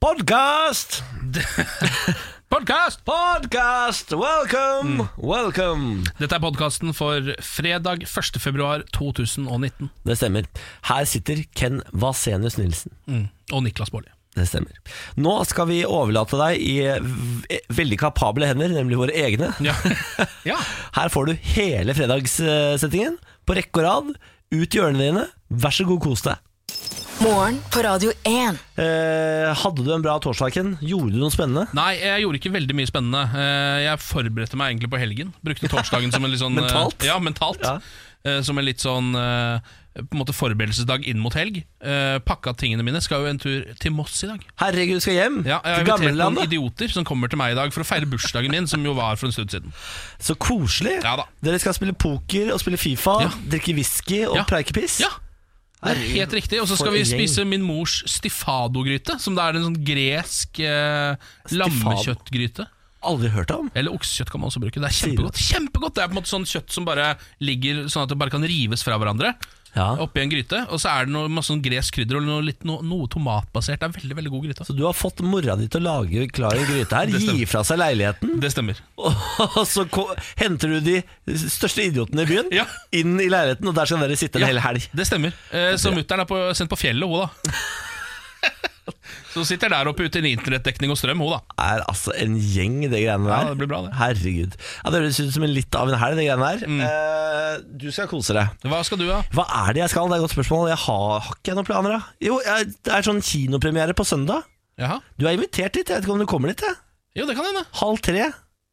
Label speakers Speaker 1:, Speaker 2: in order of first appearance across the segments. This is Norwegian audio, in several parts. Speaker 1: Podcast!
Speaker 2: Podkast!
Speaker 1: Podcast! Welcome! Welcome!
Speaker 2: Dette er podkasten for fredag 1. februar 2019.
Speaker 1: Det stemmer. Her sitter Ken Vasenius Nilsen.
Speaker 2: Mm. Og Niklas Baarli.
Speaker 1: Det stemmer. Nå skal vi overlate deg i eh, veldig kapable hender, nemlig våre egne.
Speaker 2: Ja. ja.
Speaker 1: Her får du hele fredagssettingen på rekke og rad. Ut i hjørnene dine. Vær så god, kos deg.
Speaker 3: Morgen på Radio 1.
Speaker 1: Eh, hadde du en bra torsdag, Ken? Gjorde du noe spennende?
Speaker 2: Nei, jeg gjorde ikke veldig mye spennende. Eh, Jeg forberedte meg egentlig på helgen. Brukte torsdagen som en litt sånn eh,
Speaker 1: Mentalt?
Speaker 2: Ja, mentalt.
Speaker 1: Ja.
Speaker 2: Eh, Som en litt sånn eh, på en måte forberedelsesdag inn mot helg. Eh, Pakka tingene mine. Skal jo en tur til Moss i dag.
Speaker 1: Herregud, du skal hjem
Speaker 2: Ja, jeg har
Speaker 1: til
Speaker 2: invitert noen
Speaker 1: gamlelandet.
Speaker 2: idioter som kommer til meg i dag for å feire bursdagen min, som jo var for en stund siden.
Speaker 1: Så koselig.
Speaker 2: Ja da.
Speaker 1: Dere skal spille poker og spille Fifa,
Speaker 2: Ja.
Speaker 1: drikke whisky og
Speaker 2: Ja.
Speaker 1: preikepiss.
Speaker 2: Ja, det er helt riktig. Og så skal
Speaker 1: for
Speaker 2: vi
Speaker 1: en gjeng.
Speaker 2: spise min mors stifado-gryte, som det er en sånn gresk eh, lammekjøttgryte.
Speaker 1: Aldri hørt om.
Speaker 2: Eller oksekjøtt kan man også bruke. Det er
Speaker 1: Sier du
Speaker 2: kjempegodt. kjempegodt Det er på en måte sånn kjøtt som bare ligger sånn at det bare kan rives fra hverandre.
Speaker 1: Ja.
Speaker 2: Oppi en gryte. Og så er det noe, masse sånn gresk krydder og noe, litt, noe, noe tomatbasert. Det er veldig veldig god gryte.
Speaker 1: Så du har fått mora di til å lage klar en gryte her,
Speaker 2: Det stemmer.
Speaker 1: gi fra seg leiligheten,
Speaker 2: Det stemmer.
Speaker 1: og så ko- henter du de største idiotene i byen
Speaker 2: Ja.
Speaker 1: inn i leiligheten, og der skal dere sitte en
Speaker 2: Ja,
Speaker 1: hel helg.
Speaker 2: Det stemmer. Eh, så mutter'n er på, sendt på fjellet, hun da. Så sitter der oppe uten internettdekning og strøm, hun da.
Speaker 1: er altså en gjeng, det greiene der.
Speaker 2: Ja, det blir bra, det. Mm.
Speaker 1: Herregud. Ja, det høres ut som en litt av en helg, det greiene der. Eh, du skal kose deg.
Speaker 2: Hva skal du ha?
Speaker 1: Hva er det jeg skal? Det er et godt spørsmål. Jeg har, har ikke jeg noen planer, da. Jo, jeg, det er sånn kinopremiere på søndag.
Speaker 2: Jaha?
Speaker 1: Du er invitert dit, jeg vet ikke om du kommer dit. Jeg.
Speaker 2: Jo, det kan hende.
Speaker 1: Halv tre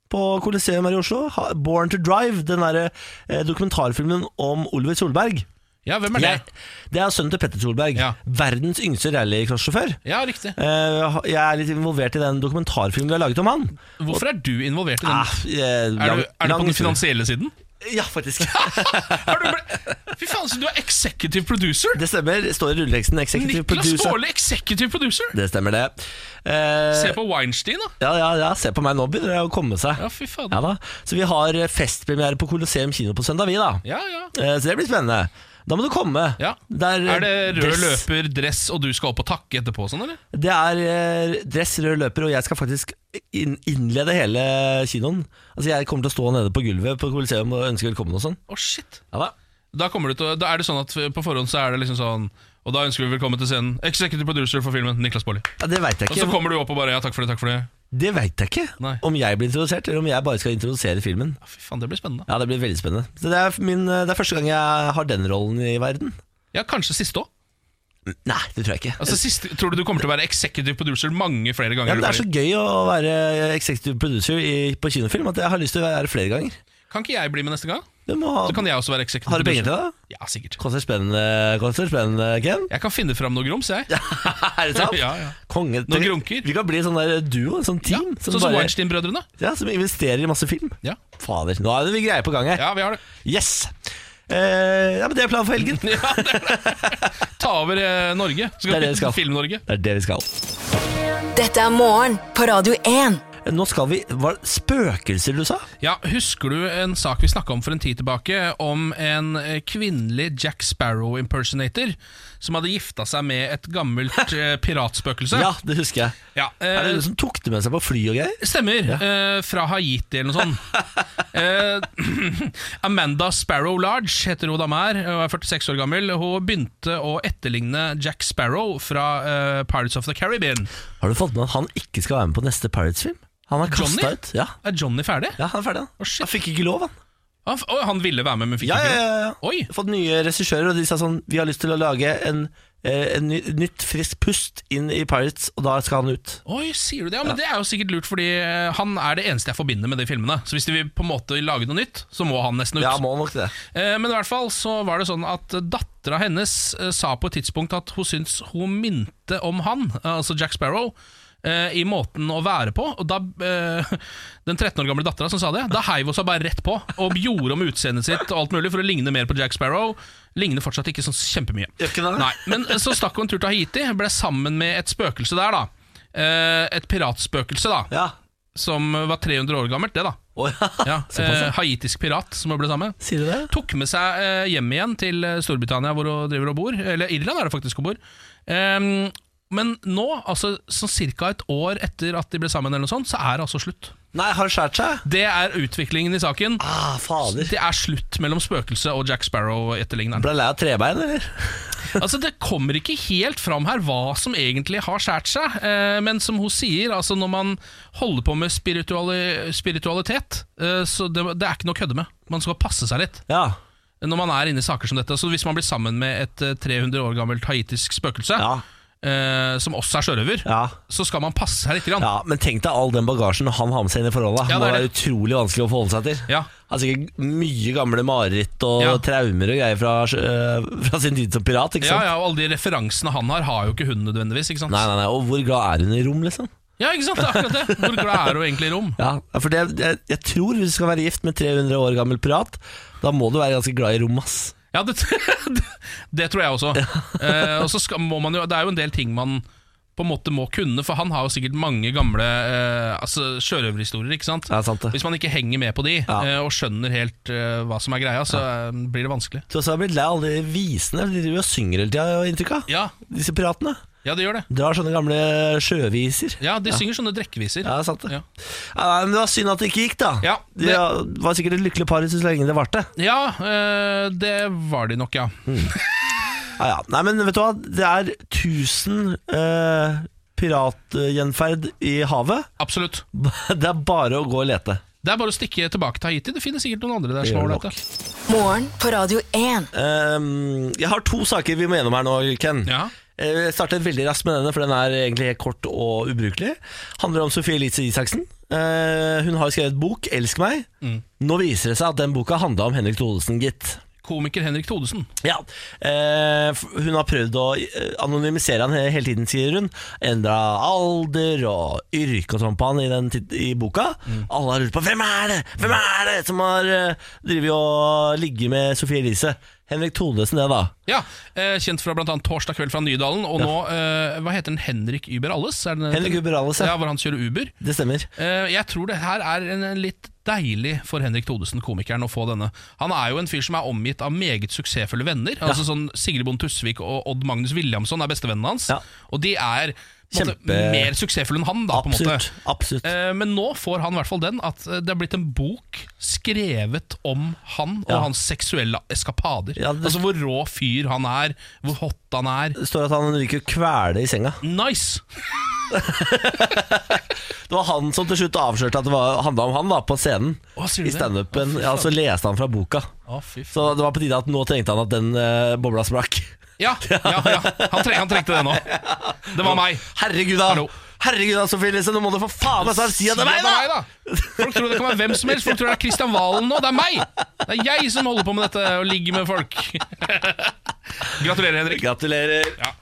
Speaker 1: på Coliseum her i Oslo. Ha- Born to Drive, den derre eh, dokumentarfilmen om Oliver Solberg.
Speaker 2: Ja, hvem er det?
Speaker 1: Jeg- det er sønnen til Petter Solberg.
Speaker 2: Ja.
Speaker 1: Verdens yngste rallycrossjåfør.
Speaker 2: Ja, riktig.
Speaker 1: Eh, jeg er litt involvert i den dokumentarfilmen vi har laget om han.
Speaker 2: Hvorfor er du involvert i den?
Speaker 1: Ah, eh,
Speaker 2: er
Speaker 1: lang-
Speaker 2: du, er du
Speaker 1: lang
Speaker 2: på den
Speaker 1: historie.
Speaker 2: finansielle siden?
Speaker 1: Ja, faktisk.
Speaker 2: Har du ble... Fy faen, så du er executive producer!
Speaker 1: Det stemmer. Det står i rulleteksten. Executive
Speaker 2: Niklas
Speaker 1: producer.
Speaker 2: Baarli, executive producer!
Speaker 1: Det stemmer, det.
Speaker 2: Se
Speaker 1: Eh,
Speaker 2: på Weinstein, da.
Speaker 1: ja, ja, ja, se på meg nå, begynner det å komme seg.
Speaker 2: Ja, fy faen.
Speaker 1: Ja da. Så vi har festpremiere på Colosseum kino på søndag, vi da.
Speaker 2: Ja, ja.
Speaker 1: Eh, så det blir spennende. Da må du komme.
Speaker 2: Ja.
Speaker 1: Der, eh,
Speaker 2: Er det rød
Speaker 1: dress-
Speaker 2: løper, dress, og du skal opp og takke etterpå? sånn, eller?
Speaker 1: Det er eh, dress, rød løper, og jeg skal faktisk inn innlede hele kinoen. Altså Jeg kommer til å stå nede på gulvet på Colosseum og ønske velkommen og sånn.
Speaker 2: Å, shit
Speaker 1: Ja da.
Speaker 2: Da kommer du til å Da er det sånn at på forhånd så er det liksom sånn Og da ønsker vi velkommen til scenen. Executive producer for filmen, Niklas Baarli.
Speaker 1: Ja, det veit jeg
Speaker 2: Og så
Speaker 1: ikke.
Speaker 2: kommer du opp og bare Ja, takk for det, takk for det.
Speaker 1: Det vet jeg ikke.
Speaker 2: Nei.
Speaker 1: Om jeg blir introdusert, eller om jeg bare skal introdusere filmen.
Speaker 2: Ja, fy faen, det blir spennende.
Speaker 1: Ja, Det blir veldig spennende. Så Det er, min, eh, det er første gang jeg har den rollen i verden.
Speaker 2: Ja, kanskje siste òg.
Speaker 1: Nei, det tror jeg ikke.
Speaker 2: Altså, siste- tror du du kommer til å være executive producer mange flere ganger?
Speaker 1: ja, men
Speaker 2: eller
Speaker 1: det
Speaker 2: bare-
Speaker 1: er så gøy å være eh, executive producer i, på kinofilm at jeg har lyst til å være flere ganger.
Speaker 2: Kan ikke jeg bli med neste gang?
Speaker 1: Du må ha,
Speaker 2: Så kan jeg også være executive
Speaker 1: har du penger
Speaker 2: producer.
Speaker 1: til det? da?
Speaker 2: Ja, sikkert.
Speaker 1: Koster spennende, koster spennende Ken.
Speaker 2: Jeg kan finne fram noe grums, jeg.
Speaker 1: er det sant?
Speaker 2: Ja, ja.
Speaker 1: Konge.
Speaker 2: Noen grunker.
Speaker 1: Vi kan bli sånn der duo, en sånn
Speaker 2: Ja,
Speaker 1: team.
Speaker 2: sånn som Weinstein-brødrene.
Speaker 1: ja, som investerer i masse film.
Speaker 2: Ja.
Speaker 1: Fader, nå er det vi greier på gang her.
Speaker 2: ja, vi har det.
Speaker 1: Yes! Eh, ja, men Det er planen for helgen.
Speaker 2: Ja, det, er det. Ta over eh, Norge.
Speaker 1: Det
Speaker 2: Så
Speaker 1: er
Speaker 2: Skal
Speaker 1: det vi skal.
Speaker 2: Film-Norge.
Speaker 1: Det er det vi skal.
Speaker 3: Dette er morgen på Radio 1.
Speaker 1: Eh, Nå skal vi Hva spøkelser du sa?
Speaker 2: Ja, Husker du en sak vi snakka om for en tid tilbake, om en eh, kvinnelig Jack Sparrow-impersonator som hadde gifta seg med et gammelt eh, piratspøkelse?
Speaker 1: Ja, det husker jeg.
Speaker 2: Ja,
Speaker 1: Er det
Speaker 2: eh,
Speaker 1: hun som tok det med seg på fly og greier?
Speaker 2: Stemmer. eh, fra Haiti eller noe sånt. Eh, Amanda Sparrow Large heter hun dama her, og er 46 år gammel. Hun begynte å etterligne Jack Sparrow fra eh, Pirates of the Caribbean.
Speaker 1: Har du fått med at han ikke skal være med på neste Pirates-film? Han er
Speaker 2: Johnny?
Speaker 1: kasta ut. Ja.
Speaker 2: Er Johnny ferdig?
Speaker 1: ja, han er ferdig, han.
Speaker 2: Å, shit.
Speaker 1: han fikk ikke lov, han.
Speaker 2: Han, f- å, han ville være med, men fikk
Speaker 1: Ja, ja,
Speaker 2: ikke
Speaker 1: ja, ja.
Speaker 2: Oi!
Speaker 1: Fått nye regissører, og de sa sånn Vi har lyst til å lage en, eh, en ny, nytt, friskt pust inn i Pirates, og da skal han ut.
Speaker 2: Oi, sier du det? Ja, men Det er jo sikkert lurt, fordi eh, han er det eneste jeg forbinder med de filmene. Så hvis de vil på en måte lage noe nytt, så må han nesten ut.
Speaker 1: Ja, må nok det.
Speaker 2: Eh, Men i hvert fall så var det sånn at dattera hennes eh, sa på et tidspunkt at hun syntes hun minte om han, eh, altså Jack Sparrow, eh, i måten å være på. Og da, eh, den 13 år gamle dattera som sa det, da heiv hun seg bare rett på og gjorde om utseendet sitt og alt mulig for å ligne mer på Jack Sparrow. Ligner fortsatt ikke sånn kjempemye.
Speaker 1: Gjør ikke det?
Speaker 2: Nei, men eh, så stakk hun en tur til Haiti, ble sammen med et spøkelse der, da. Eh, Et piratspøkelse, da.
Speaker 1: Ja.
Speaker 2: Som var 300 år gammelt, det, da.
Speaker 1: Å, ja.
Speaker 2: Ja,
Speaker 1: Såpass, ja.
Speaker 2: eh, Haitisk pirat som hun ble sammen med.
Speaker 1: Sier du det?
Speaker 2: Tok med seg eh, hjem igjen til eh, Storbritannia, hvor hun driver og bor. Eller Irland er det faktisk hun bor. Ehm, Men nå, altså sånn ca. et år etter at de ble sammen, eller noe sånt, så er det altså slutt.
Speaker 1: Nei, har det skåret seg?
Speaker 2: Det er utviklingen i saken.
Speaker 1: Ah, fader.
Speaker 2: Det er slutt mellom spøkelset og Jack Sparrow-etterligneren.
Speaker 1: Ble lei av trebein, eller?
Speaker 2: Altså, Det kommer ikke helt fram her hva som egentlig har skåret seg, eh, men som hun sier, altså når man holder på med spirituali spiritualitet, eh, så det, det er ikke noe å kødde med. Man skal passe seg litt
Speaker 1: Ja.
Speaker 2: når man er inne i saker som dette. Så hvis man blir sammen med et eh, 300 år gammelt haitisk spøkelse,
Speaker 1: Ja.
Speaker 2: eh, som også er sjørøver,
Speaker 1: ja.
Speaker 2: så skal man passe seg litt. Grann.
Speaker 1: Ja, Men tenk deg all den bagasjen han har med seg inn i forholdet.
Speaker 2: Ja,
Speaker 1: Han
Speaker 2: det
Speaker 1: må
Speaker 2: er
Speaker 1: være
Speaker 2: det.
Speaker 1: utrolig vanskelig å forholde seg til.
Speaker 2: Ja.
Speaker 1: Han har sikkert mye gamle mareritt og
Speaker 2: Ja.
Speaker 1: traumer og greier fra, øh, fra sin tid som pirat. ikke
Speaker 2: Ja,
Speaker 1: sant?
Speaker 2: ja, og alle de referansene han har, har jo ikke hun nødvendigvis. ikke sant?
Speaker 1: Nei, nei, nei, Og hvor glad er hun i rom, liksom?
Speaker 2: Ja, ikke sant, det er akkurat det. Hvor glad er hun egentlig i rom?
Speaker 1: Ja, for det, jeg, jeg tror hvis du skal være gift med 300 år gammel pirat, da må du være ganske glad i rom, ass.
Speaker 2: Ja, det, det, det tror jeg også. Eh, og så skal, må man jo, Det er jo en del ting man på en måte må kunne, for han har jo sikkert mange gamle eh, altså, sjørøverhistorier. ikke sant?
Speaker 1: Ja, sant det.
Speaker 2: Hvis man ikke henger med på de,
Speaker 1: Ja.
Speaker 2: eh, og skjønner helt eh, hva som er greia, så eh, blir det vanskelig.
Speaker 1: Så har jeg blitt lei av alle de visene, for de driver og synger hele tida, inntrykk av.
Speaker 2: Ja,
Speaker 1: Disse piratene.
Speaker 2: ja det gjør det.
Speaker 1: Drar sånne gamle sjøviser.
Speaker 2: Ja, De synger sånne drukkeviser.
Speaker 1: Ja, sant det.
Speaker 2: Ja.
Speaker 1: Ja. nei, men det var synd at det ikke gikk, da.
Speaker 2: Ja,
Speaker 1: det... De var sikkert et lykkelig par så lenge det varte.
Speaker 2: Ja, eh, det var de nok, ja.
Speaker 1: Ja, ja. Nei, men vet du hva, det er 1000 eh, piratgjenferd i havet.
Speaker 2: Absolutt.
Speaker 1: Det er bare å gå og lete.
Speaker 2: Det er bare å stikke tilbake til Haiti. Det finnes sikkert noen andre der
Speaker 1: Det
Speaker 2: som
Speaker 1: gjør
Speaker 2: har
Speaker 1: det
Speaker 2: dette.
Speaker 3: Morgen på Radio 1.
Speaker 1: Ehm, jeg har to saker vi må gjennom her nå, Ken.
Speaker 2: Ja.
Speaker 1: Eh, Jeg starter veldig raskt med denne, for den er egentlig helt kort og ubrukelig. Handler om Sofie Elise Isaksen. Eh, hun har skrevet bok, 'Elsk meg'.
Speaker 2: Mm.
Speaker 1: Nå viser det seg at den boka handla om Henrik Thodesen, gitt.
Speaker 2: Komiker Henrik Thodesen.
Speaker 1: Ja, eh, f- Hun har prøvd å eh, anonymisere han he- hele tiden, sier hun. Endra alder og yrke og sånn på han i, den, tit- i boka.
Speaker 2: Mm.
Speaker 1: Alle har lurt på hvem er det Hvem er det som har eh, drevet og ligget med Sofie Elise. Henrik Thodesen, det, da.
Speaker 2: Ja, eh, Kjent fra bl.a. 'Torsdag kveld fra Nydalen'. Og nå, eh, hva heter den? Henrik Uber Alles? Er den,
Speaker 1: Henrik Uber Alles, ja.
Speaker 2: ja. Hvor han kjører Uber.
Speaker 1: Det stemmer.
Speaker 2: Eh, jeg tror det her er en, en litt deilig for Henrik Thodesen, komikeren, å få denne. Han er jo en fyr som er omgitt av meget suksessfulle venner. Altså sånn Sigrid Bonde Tusvik og Odd Magnus Williamson er bestevennene hans.
Speaker 1: Ja.
Speaker 2: Og de er på en måte,
Speaker 1: Kjempe-
Speaker 2: mer suksessfulle enn han, da, på en
Speaker 1: Absolutt.
Speaker 2: måte.
Speaker 1: absolutt
Speaker 2: Eh, Men nå får han i hvert fall den at eh, det er blitt en bok skrevet om han og
Speaker 1: Ja.
Speaker 2: hans seksuelle eskapader.
Speaker 1: Ja, det-
Speaker 2: Altså hvor rå fyr han er, hvor hot han er.
Speaker 1: Det står at han ryker kvele i senga.
Speaker 2: Nice!
Speaker 1: Det var han som til slutt avslørte at det handla om han da, på scenen.
Speaker 2: Å, sier du
Speaker 1: I
Speaker 2: det?
Speaker 1: standupen.
Speaker 2: Å, fy
Speaker 1: Ja, så leste han fra boka.
Speaker 2: Å, fy faen.
Speaker 1: Så det var på tide at nå trengte han at den eh, bobla sprakk.
Speaker 2: Ja, ja, ja. Han, treng, han trengte det nå. Det var meg.
Speaker 1: Herregud, da!
Speaker 2: Hallo.
Speaker 1: Herregud da, Sofie Elise, nå må du for faen meg snart si at det er meg, da!
Speaker 2: Folk tror det kan være hvem som helst. Folk tror det er Kristian Valen nå. Det er meg! Det er jeg som holder på med dette og ligger med folk. Gratulerer, Henrik.
Speaker 1: Gratulerer.
Speaker 2: Ja.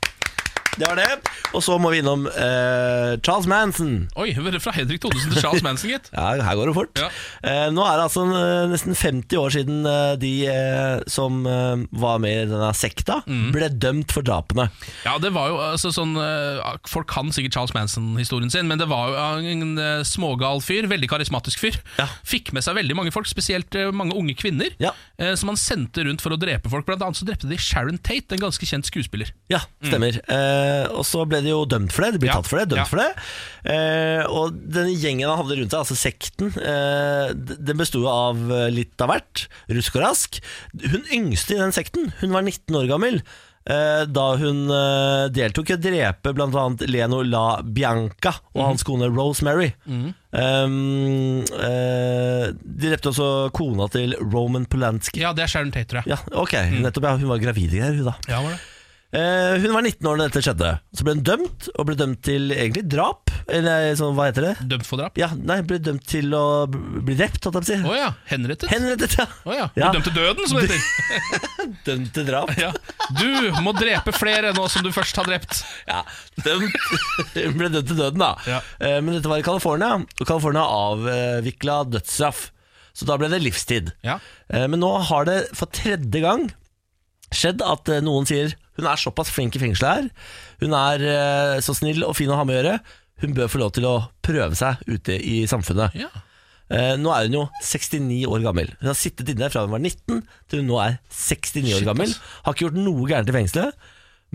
Speaker 1: Det var det. Og så må vi innom eh, Charles Manson.
Speaker 2: Oi, fra Henrik Thodesen til Charles Manson, gitt.
Speaker 1: Ja, her går det fort.
Speaker 2: Ja.
Speaker 1: Eh, nå er det altså eh, nesten 50 år siden eh, de eh, som eh, var med i denne sekta,
Speaker 2: Mm.
Speaker 1: ble dømt for drapene.
Speaker 2: Ja, det var jo altså, sånn eh, Folk kan sikkert Charles Manson-historien sin, men det var jo en eh, smågal fyr, veldig karismatisk fyr.
Speaker 1: Ja.
Speaker 2: Fikk med seg veldig mange folk, spesielt eh, mange unge kvinner,
Speaker 1: Ja.
Speaker 2: eh, som han sendte rundt for å drepe folk. Blant annet så drepte de Sharon Tate, en ganske kjent skuespiller.
Speaker 1: Ja, stemmer. Eh, og så ble de jo dømt for det. De ble
Speaker 2: Mm. Ja,
Speaker 1: tatt for det, dømt
Speaker 2: ja.
Speaker 1: for det. Eh, og denne gjengen han hadde rundt seg, altså sekten, eh, d- den besto jo av eh, litt av hvert. Rusk og rask. Hun yngste i den sekten, hun var 19 år gammel. eh, Da hun eh, deltok i å drepe bl.a. Leno La Bianca
Speaker 2: Mm.
Speaker 1: og hans kone Rosemary. Um, eh, de drepte også kona til Roman Polanski.
Speaker 2: Ja, det er Sharon Tate, tror jeg.
Speaker 1: Ja, ok,
Speaker 2: Mm.
Speaker 1: nettopp. Ja, hun var gravid i greier, hun da.
Speaker 2: Ja, var det?
Speaker 1: Eh, hun var 19 år da dette skjedde. Så ble hun dømt, og ble dømt til egentlig drap. Eller sånn, hva heter det?
Speaker 2: Dømt for drap?
Speaker 1: Ja, nei, ble dømt til å b- bli drept, holdt jeg
Speaker 2: Å
Speaker 1: på å si.
Speaker 2: ja, henrettet?
Speaker 1: Henrettet, ja.
Speaker 2: Å ja.
Speaker 1: Ja.
Speaker 2: Dømt til døden, som det heter.
Speaker 1: Dømt til drap.
Speaker 2: Ja. Du må drepe flere nå som du først har drept.
Speaker 1: Ja, dømt. Hun ble dømt til døden, da.
Speaker 2: Ja.
Speaker 1: Eh, Men dette var i California, og California avvikla dødsstraff. Så da ble det livstid.
Speaker 2: Ja.
Speaker 1: Eh, Men nå har det for tredje gang skjedd at eh, noen sier hun er såpass flink i fengselet her, hun er eh, så snill og fin å ha med å gjøre, hun bør få lov til å prøve seg ute i samfunnet.
Speaker 2: ja.
Speaker 1: Eh, Nå er hun jo 69 år gammel. Hun har sittet inne fra hun var 19 til hun nå er 69
Speaker 2: Shit,
Speaker 1: år gammel.
Speaker 2: ass.
Speaker 1: Har ikke gjort noe gærent i fengselet.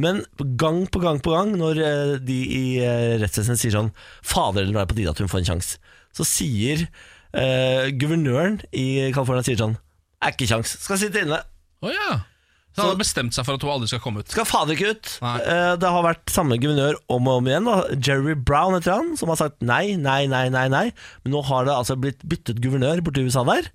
Speaker 1: Men gang på gang på gang, når eh, de i eh, rettsvesenet sier sånn Fader, nå er det på tide at hun får en sjanse, så sier eh, guvernøren i California sier sånn Er ikke kjangs, skal sitte inne.
Speaker 2: Å ja. Så han hadde bestemt seg for at hun aldri skal komme ut.
Speaker 1: Skal fader ikke ut.
Speaker 2: Nei.
Speaker 1: Eh, det har vært samme guvernør om og om igjen. Da. Jerry Brown heter han, som har sagt nei, nei, nei, nei. nei Men nå har det altså blitt byttet guvernør borti USA der.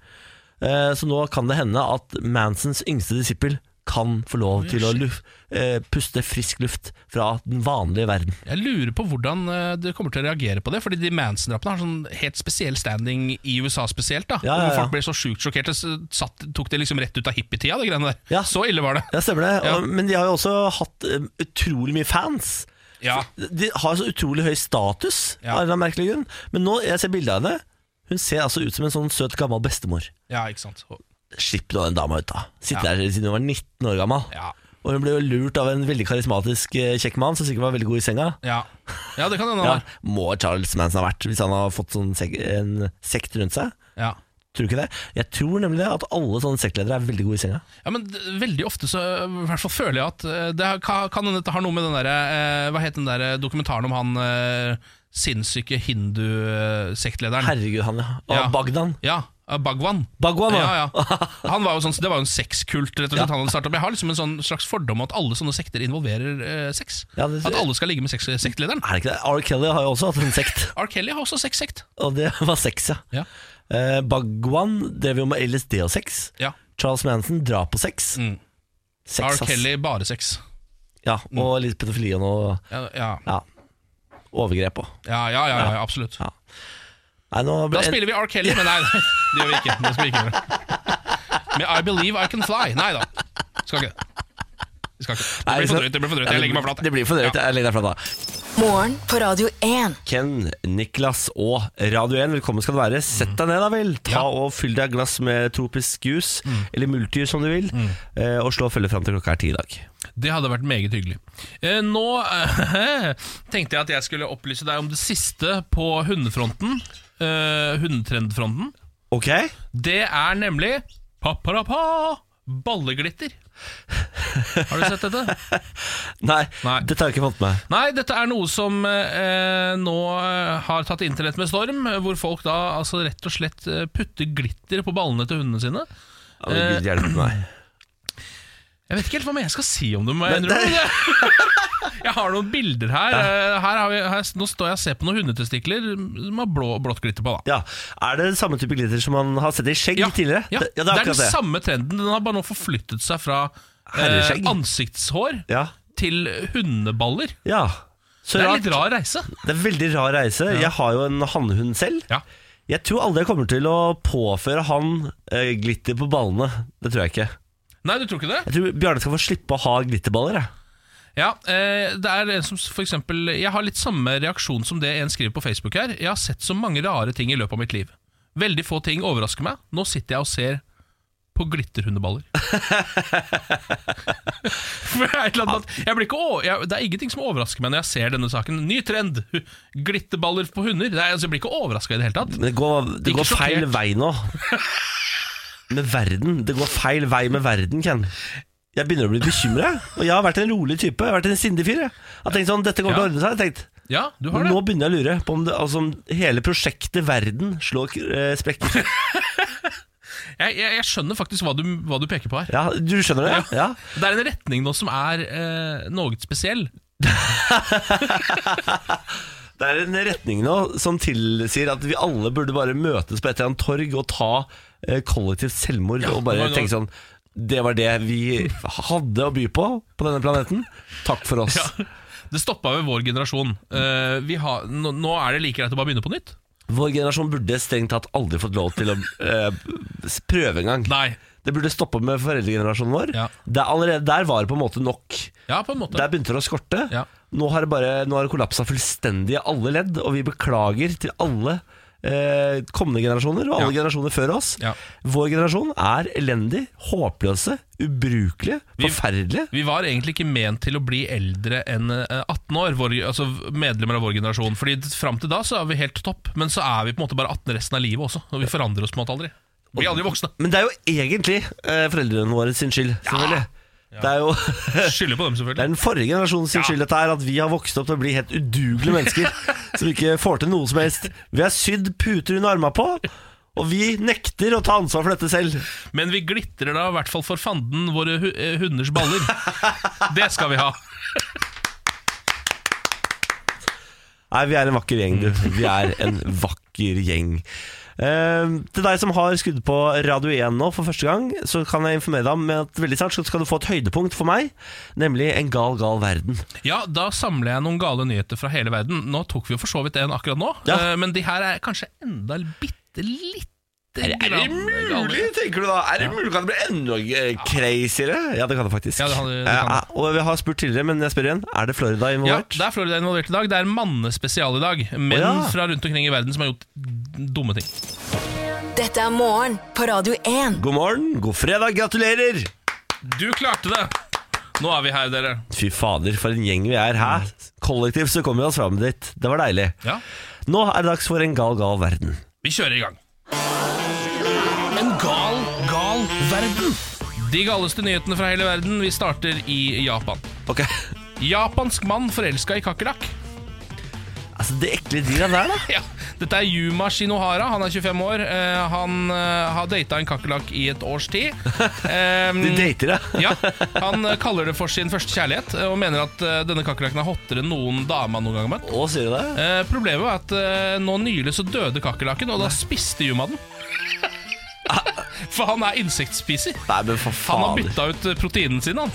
Speaker 1: Eh, så nå kan det hende at Mansons yngste disippel kan få lov til å luf, eh, puste frisk luft fra den vanlige verden.
Speaker 2: Jeg lurer på hvordan eh, du kommer til å reagere på det. Fordi de Manson-drapene har sånn helt spesiell standing i USA spesielt. da
Speaker 1: Ja, ja,
Speaker 2: Hvor
Speaker 1: ja.
Speaker 2: Folk ble så sjukt sjokkerte. så Satt, tok det liksom rett ut av hippietida, det greiene der.
Speaker 1: Ja.
Speaker 2: Så ille var det.
Speaker 1: Ja, stemmer det.
Speaker 2: Ja.
Speaker 1: Og, men de har jo også hatt eh, utrolig mye fans.
Speaker 2: Ja.
Speaker 1: De har så utrolig høy status,
Speaker 2: Ja.
Speaker 1: av en eller annen merkelig grunn. Men nå, jeg ser bilde av henne. Hun ser altså ut som en sånn søt, gammel bestemor.
Speaker 2: ja, ikke sant.
Speaker 1: Slipp nå den dama ut, da. Sitte der siden hun var 19 år gammel.
Speaker 2: Ja.
Speaker 1: Og hun ble jo lurt av en veldig karismatisk eh, kjekk mann som sikkert var veldig god i senga.
Speaker 2: Ja, ja det kan hende.
Speaker 1: Ja,
Speaker 2: han var.
Speaker 1: Må Charles Manson ha vært, hvis han har fått sånn sek en sekt rundt seg.
Speaker 2: Ja.
Speaker 1: Tror du ikke det? Jeg tror nemlig det at alle sånne sektledere er veldig gode i senga.
Speaker 2: Ja, men d- Veldig ofte så øh, i hvert fall føler jeg at øh, det har- ka- kan hende at det har noe med den der, øh, Hva het den der øh, dokumentaren om han øh, sinnssyke hindu-sektlederen?
Speaker 1: Herregud, han ja. Og
Speaker 2: Ja.
Speaker 1: Bagdan.
Speaker 2: Ja, øh, Bhagwan.
Speaker 1: Bagwan,
Speaker 2: Ja, ja. Han var jo sånn, det var jo en sexkult. rett og slett han hadde startet opp. Jeg har liksom en sånn slags fordom om at alle sånne sekter involverer øh, sex.
Speaker 1: Ja, det-
Speaker 2: at alle skal ligge med sex, eh, sektlederen.
Speaker 1: Er det ikke det? R. Kelly har jo også hatt en sekt,
Speaker 2: R. Kelly har også sexsekt.
Speaker 1: og det var sex, ja.
Speaker 2: Ja.
Speaker 1: Eh, Bagwan drev jo med LSD og sex.
Speaker 2: Ja.
Speaker 1: Charles Manson drap og sex.
Speaker 2: Mm.
Speaker 1: Sex,
Speaker 2: R.
Speaker 1: ass.
Speaker 2: Kelly bare sex.
Speaker 1: Ja, og litt pedofili og noe
Speaker 2: Ja, ja,
Speaker 1: ja, overgrep òg.
Speaker 2: ja, ja, ja, ja absolutt.
Speaker 1: Nei, nå
Speaker 2: Da
Speaker 1: ble en,
Speaker 2: spiller vi R. Kelly, men nei, nei, det gjør vi ikke. Det skal vi ikke gjøre. Med I Believe I Can Fly. Nei da. Skal ikke det. Vi skal ikke. Det
Speaker 1: Nei,
Speaker 2: blir
Speaker 1: så-
Speaker 2: for drøyt. det blir for drøyt.
Speaker 1: Ja,
Speaker 2: Jeg legger meg flat.
Speaker 1: Det blir for drøyt, jeg legger deg flat da.
Speaker 3: Morgen på Radio 1.
Speaker 1: Ken, Niklas og Radio 1, velkommen skal du være. Sett deg ned da vel. Ta
Speaker 2: Ja. Mm.
Speaker 1: og fyll deg et glass med tropisk juice, eller multier som du vil, eh, og slå og følge fram til klokka er ti i dag.
Speaker 2: Det hadde vært meget hyggelig. Eh, nå eh, tenkte jeg at jeg skulle opplyse deg om det siste på hundefronten. Eh, hundetrendfronten.
Speaker 1: Ok?
Speaker 2: Det er nemlig paparapa, balleglitter. Har du sett dette?
Speaker 1: Nei,
Speaker 2: Nei.
Speaker 1: dette har jeg ikke fått med.
Speaker 2: Nei, dette er noe som eh, nå eh, har tatt internett med storm, eh, hvor folk da altså rett og slett eh, putter glitter på ballene til hundene sine.
Speaker 1: Ja, men Gud
Speaker 2: Eh,
Speaker 1: hjelpe meg.
Speaker 2: Jeg vet ikke helt hva mer jeg skal si om det. må Jeg,
Speaker 1: Men
Speaker 2: innrømme. jeg har noen bilder her. eh, her, har vi, her. Nå står jeg og ser på noen hundetestikler som har blå, blått glitter på. da
Speaker 1: Ja, Er det samme type glitter som man har sett i skjegg tidligere?
Speaker 2: ja,
Speaker 1: det, ja, det
Speaker 2: det
Speaker 1: er
Speaker 2: er den
Speaker 1: akkurat det.
Speaker 2: samme trenden. Den har bare nå forflyttet seg fra eh,
Speaker 1: Herreskjegg.
Speaker 2: ansiktshår
Speaker 1: Ja.
Speaker 2: til hundeballer.
Speaker 1: ja. Så
Speaker 2: Det er en
Speaker 1: rart.
Speaker 2: litt rar reise.
Speaker 1: Det er veldig rar reise. Jeg har jo en hannhund selv.
Speaker 2: Ja.
Speaker 1: Jeg tror aldri jeg kommer til å påføre han eh, glitter på ballene. Det tror jeg ikke.
Speaker 2: Nei, du tror ikke det?
Speaker 1: Jeg tror Bjarne skal få slippe å ha glitterballer. Jeg.
Speaker 2: Ja, eh, det er en som for eksempel Jeg har litt samme reaksjon som det en skriver på Facebook her. Jeg har sett så mange rare ting i løpet av mitt liv. Veldig få ting overrasker meg. Nå sitter jeg og ser på glitterhundeballer. For det, er et eller annet, med at jeg blir ikke over, jeg, det er ingenting som overrasker meg når jeg ser denne saken. Ny trend! hu- Glitterballer på hunder. Det er, altså, jeg blir ikke overraska i det hele tatt.
Speaker 1: Men det går, det
Speaker 2: Ikke
Speaker 1: går feil
Speaker 2: sjokkert.
Speaker 1: vei nå. Med verden. Det går feil vei med verden, Ken. Jeg begynner å bli bekymra. Og jeg har vært en rolig type. Jeg har vært en sindig fyr. Jeg Jeg har tenkt sånn, dette kommer
Speaker 2: Ja.
Speaker 1: til å ordne seg. Jeg har tenkt.
Speaker 2: Ja, du har
Speaker 1: Men
Speaker 2: det.
Speaker 1: nå begynner jeg å lure på om det, altså, om hele prosjektet verden slår eh, sprekker.
Speaker 2: Jeg, jeg, jeg skjønner faktisk hva du, hva du peker på her.
Speaker 1: Ja, du skjønner det? Ja.
Speaker 2: Det er en retning nå som er eh, noe spesiell.
Speaker 1: Det er en retning nå som tilsier at vi alle burde bare møtes på et eller annet torg og ta eh, kollektivt selvmord og bare
Speaker 2: nå- nå-
Speaker 1: tenke sånn Det var det vi hadde å by på på denne planeten. Takk for oss.
Speaker 2: Ja. Det stoppa ved vår generasjon. Eh, vi har, nå, nå er det like greit å bare begynne på nytt.
Speaker 1: Vår generasjon burde strengt tatt aldri fått lov til å eh, s- prøve engang.
Speaker 2: Nei.
Speaker 1: Det burde stoppe med foreldregenerasjonen vår.
Speaker 2: Ja.
Speaker 1: Det er allerede, der var det på en måte nok.
Speaker 2: Ja, på en måte.
Speaker 1: Der begynte det å skorte.
Speaker 2: Ja.
Speaker 1: Nå har det bare Nå har det kollapsa fullstendig i alle ledd, og vi beklager til alle eh, kommende generasjoner og alle
Speaker 2: Ja.
Speaker 1: generasjoner før oss.
Speaker 2: Ja.
Speaker 1: Vår generasjon er elendig, håpløse, ubrukelige,
Speaker 2: Vi-
Speaker 1: forferdelige.
Speaker 2: Vi var egentlig ikke ment til å bli eldre enn eh, 18 år, vår, altså medlemmer av vår generasjon. Fordi fram til da så er vi helt topp, men så er vi på en måte bare 18 resten av livet også. Og vi forandrer oss på en måte aldri. Vi er aldri voksne.
Speaker 1: Men det er jo egentlig eh, foreldrene våre sin skyld, selvfølgelig. Det er jo
Speaker 2: Skylder på
Speaker 1: det
Speaker 2: dem,
Speaker 1: er
Speaker 2: selvfølgelig.
Speaker 1: den forrige generasjonen sin
Speaker 2: Ja.
Speaker 1: skyld dette er at vi har vokst opp til å bli helt udugelige mennesker som ikke får til noe som helst. Vi har sydd puter under armene på, og vi nekter å ta ansvar for dette selv.
Speaker 2: Men vi glitrer da i hvert fall for fanden våre hu eh, hunders baller. Det skal vi ha.
Speaker 1: Nei, vi er en vakker gjeng, du.
Speaker 2: Mm.
Speaker 1: Vi er en vakker gjeng. Eh, til deg som har skrudd på Radio 1 nå for første gang, så kan jeg informere deg om at veldig snart skal du få et høydepunkt for meg, nemlig En gal, gal verden.
Speaker 2: Ja, da samler jeg noen gale nyheter fra hele verden. Nå tok vi jo for så vidt en akkurat nå,
Speaker 1: Ja.
Speaker 2: eh, men de her er kanskje enda bitte lite
Speaker 1: tenker du da? Er det mulig? Kan det bli enda crazyere? Ja, det kan det faktisk.
Speaker 2: eh, Ja, det kan det- det kan det.
Speaker 1: Eh, og vi har spurt tidligere, men jeg spør igjen. Er det Florida
Speaker 2: Ja,
Speaker 1: involvert?
Speaker 2: det er Florida involvert i dag. Det er mannespesial i dag.
Speaker 1: Å,
Speaker 2: Menn
Speaker 1: ja.
Speaker 2: fra rundt omkring i verden som har gjort dumme ting.
Speaker 3: Dette er morgen på Radio 1.
Speaker 1: God morgen, god fredag, gratulerer!
Speaker 2: Du klarte det! Nå er vi her, dere.
Speaker 1: Fy fader, for en gjeng vi er. Hæ? Kollektivt så kommer vi oss fram dit. Det var deilig.
Speaker 2: Mm. Ja,
Speaker 1: Nå er det dags for En gal, gal verden.
Speaker 2: Vi kjører i gang. En gal, gal verden. De galeste nyhetene fra hele verden. Vi starter i Japan.
Speaker 1: Ok,
Speaker 2: Japansk mann forelska i kakerlakk.
Speaker 1: altså det ekle dyret der da
Speaker 2: Ja, dette er Yuma Shinohara. Han er 25 år. Eh, han eh, har data en kakerlakk i et års tid. Um,
Speaker 1: De dater det
Speaker 2: ja, Han eh, kaller det for sin første kjærlighet eh, og mener at eh, denne kakerlakken er hottere enn noen dame han noen gang har møtt.
Speaker 1: Å, sier du det?
Speaker 2: Eh, problemet var at eh, nå nylig så døde kakerlakken, og da spiste Yuma den. For han er insektspiser.
Speaker 1: Nei, men for
Speaker 2: Han har
Speaker 1: faen
Speaker 2: bytta ut proteinen sin, han.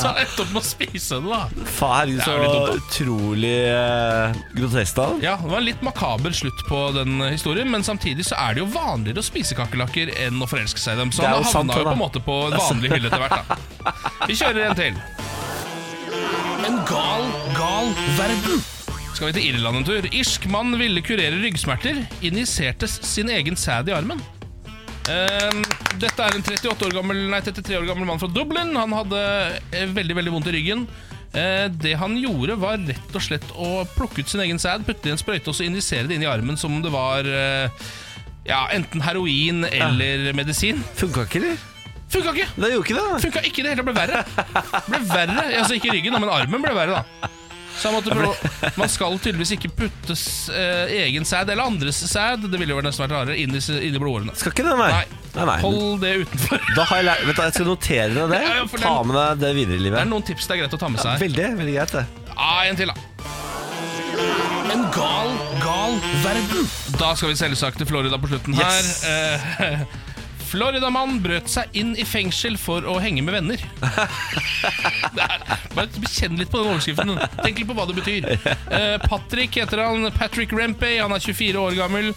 Speaker 2: så han endte opp med å spise det, da.
Speaker 1: Faen, herregud,
Speaker 2: Det er jo
Speaker 1: så utrolig eh, grotesk da
Speaker 2: Ja, Det var en litt makaber slutt på den historien, men samtidig så er det jo vanligere å spise kakerlakker enn å forelske seg i dem. Så
Speaker 1: Det er
Speaker 2: han
Speaker 1: jo
Speaker 2: havna
Speaker 1: sant,
Speaker 2: jo
Speaker 1: det,
Speaker 2: på en
Speaker 1: da.
Speaker 2: måte på en vanlig hylle etter hvert, da. Vi kjører en til. En gal, gal verden. Skal vi til Irland en tur? Irsk mann ville kurere ryggsmerter, injiserte sin egen sæd i armen. Ehm, dette er en 38 år gammel, nei, 33 år gammel mann fra Dublin. Han hadde eh, veldig veldig vondt i ryggen. Eh, det han gjorde, var rett og slett å plukke ut sin egen sæd, putte i en sprøyte og så injisere det inn i armen som om det var eh, ja, enten heroin eller medisin.
Speaker 1: Funket ikke, eller?
Speaker 2: Funka ikke!
Speaker 1: Det gjorde ikke det
Speaker 2: Funka ikke i det hele tatt. Ble verre. Ble verre, Altså ikke ryggen, da, men armen ble verre, da. Så han måtte prøve Man skal tydeligvis ikke putte s- eh, egen sæd eller andres sæd, det ville jo nesten vært rarere, inn i, s- inn i blodårene.
Speaker 1: Skal ikke det, nei
Speaker 2: Nei.
Speaker 1: Nei, nei.
Speaker 2: Hold det utenfor.
Speaker 1: Da har jeg lært Vet du, jeg skal notere ned det
Speaker 2: Ja, ja, for den-
Speaker 1: Ta med deg det videre i
Speaker 2: Det er
Speaker 1: livet
Speaker 2: noen tips det er greit å ta med seg.
Speaker 1: Veldig, veldig greit det
Speaker 2: Ah, en til, da. En gal, gal verden. Da skal vi selvsagt til Florida på slutten
Speaker 1: Yes.
Speaker 2: her. Eh, Floridamann brøt seg inn i fengsel for å henge med venner. Det er, bare kjenn litt på den overskriften. Tenk litt på hva det betyr. Eh, Patrick heter han. Patrick Rempey. Han er 24 år gammel.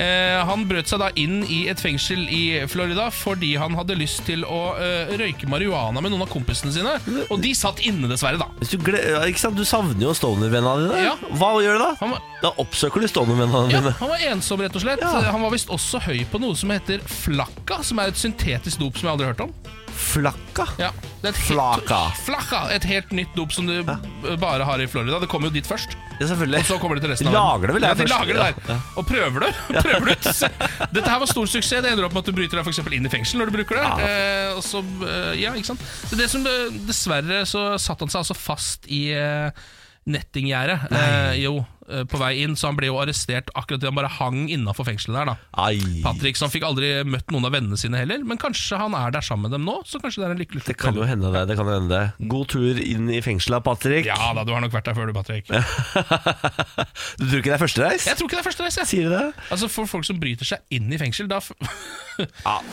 Speaker 2: Eh, han brøt seg da inn i et fengsel i Florida fordi han hadde lyst til å eh, røyke marihuana med noen av kompisene sine. Og de satt inne, dessverre, da.
Speaker 1: Hvis du, gle- ja, ikke sant? du savner jo stoner-vennene dine
Speaker 2: Ja.
Speaker 1: Hva gjør du da?
Speaker 2: Han var
Speaker 1: Da oppsøker du stoner-vennene
Speaker 2: Ja,
Speaker 1: dine
Speaker 2: han var ensom, rett og slett.
Speaker 1: eh, Ja.
Speaker 2: Han var visst også høy på noe som heter flakka, som er et syntetisk dop som jeg aldri har hørt om.
Speaker 1: Flakka
Speaker 2: Ja, det er et
Speaker 1: Flaka.
Speaker 2: Helt, flakka! Et helt nytt dop som du b- bare har i Florida. Det kommer jo dit først.
Speaker 1: Ja, selvfølgelig
Speaker 2: Så kommer det til resten
Speaker 1: De
Speaker 2: av
Speaker 1: lager det vel der
Speaker 2: ja, de
Speaker 1: først.
Speaker 2: lager det der.
Speaker 1: Ja, ja.
Speaker 2: Og prøver det. prøver det ut. Dette her var stor suksess. Det ender opp med at du bryter deg for eksempel inn i fengsel når du bruker det. Eh, og så, eh, ja, ikke sant? Så det som, eh, dessverre så satt han seg altså fast i eh, nettinggjerdet. Eh, jo, eh, på vei inn, så han ble jo arrestert akkurat da han bare hang innafor fengselet der. da
Speaker 1: Ai
Speaker 2: Patrick som fikk aldri møtt noen av vennene sine heller, men kanskje han er der sammen med dem nå, så kanskje det er en lykkelig
Speaker 1: Det
Speaker 2: slutt.
Speaker 1: kan jo hende det, det kan jo hende det. God tur inn i fengselet, Patrick.
Speaker 2: Ja da, du har nok vært der før du, Patrick. Jeg
Speaker 1: Du tror ikke det er førstereis?
Speaker 2: tror ikke det er første reis, jeg.
Speaker 1: Sier du det?
Speaker 2: Altså, for folk som bryter seg inn i fengsel, da f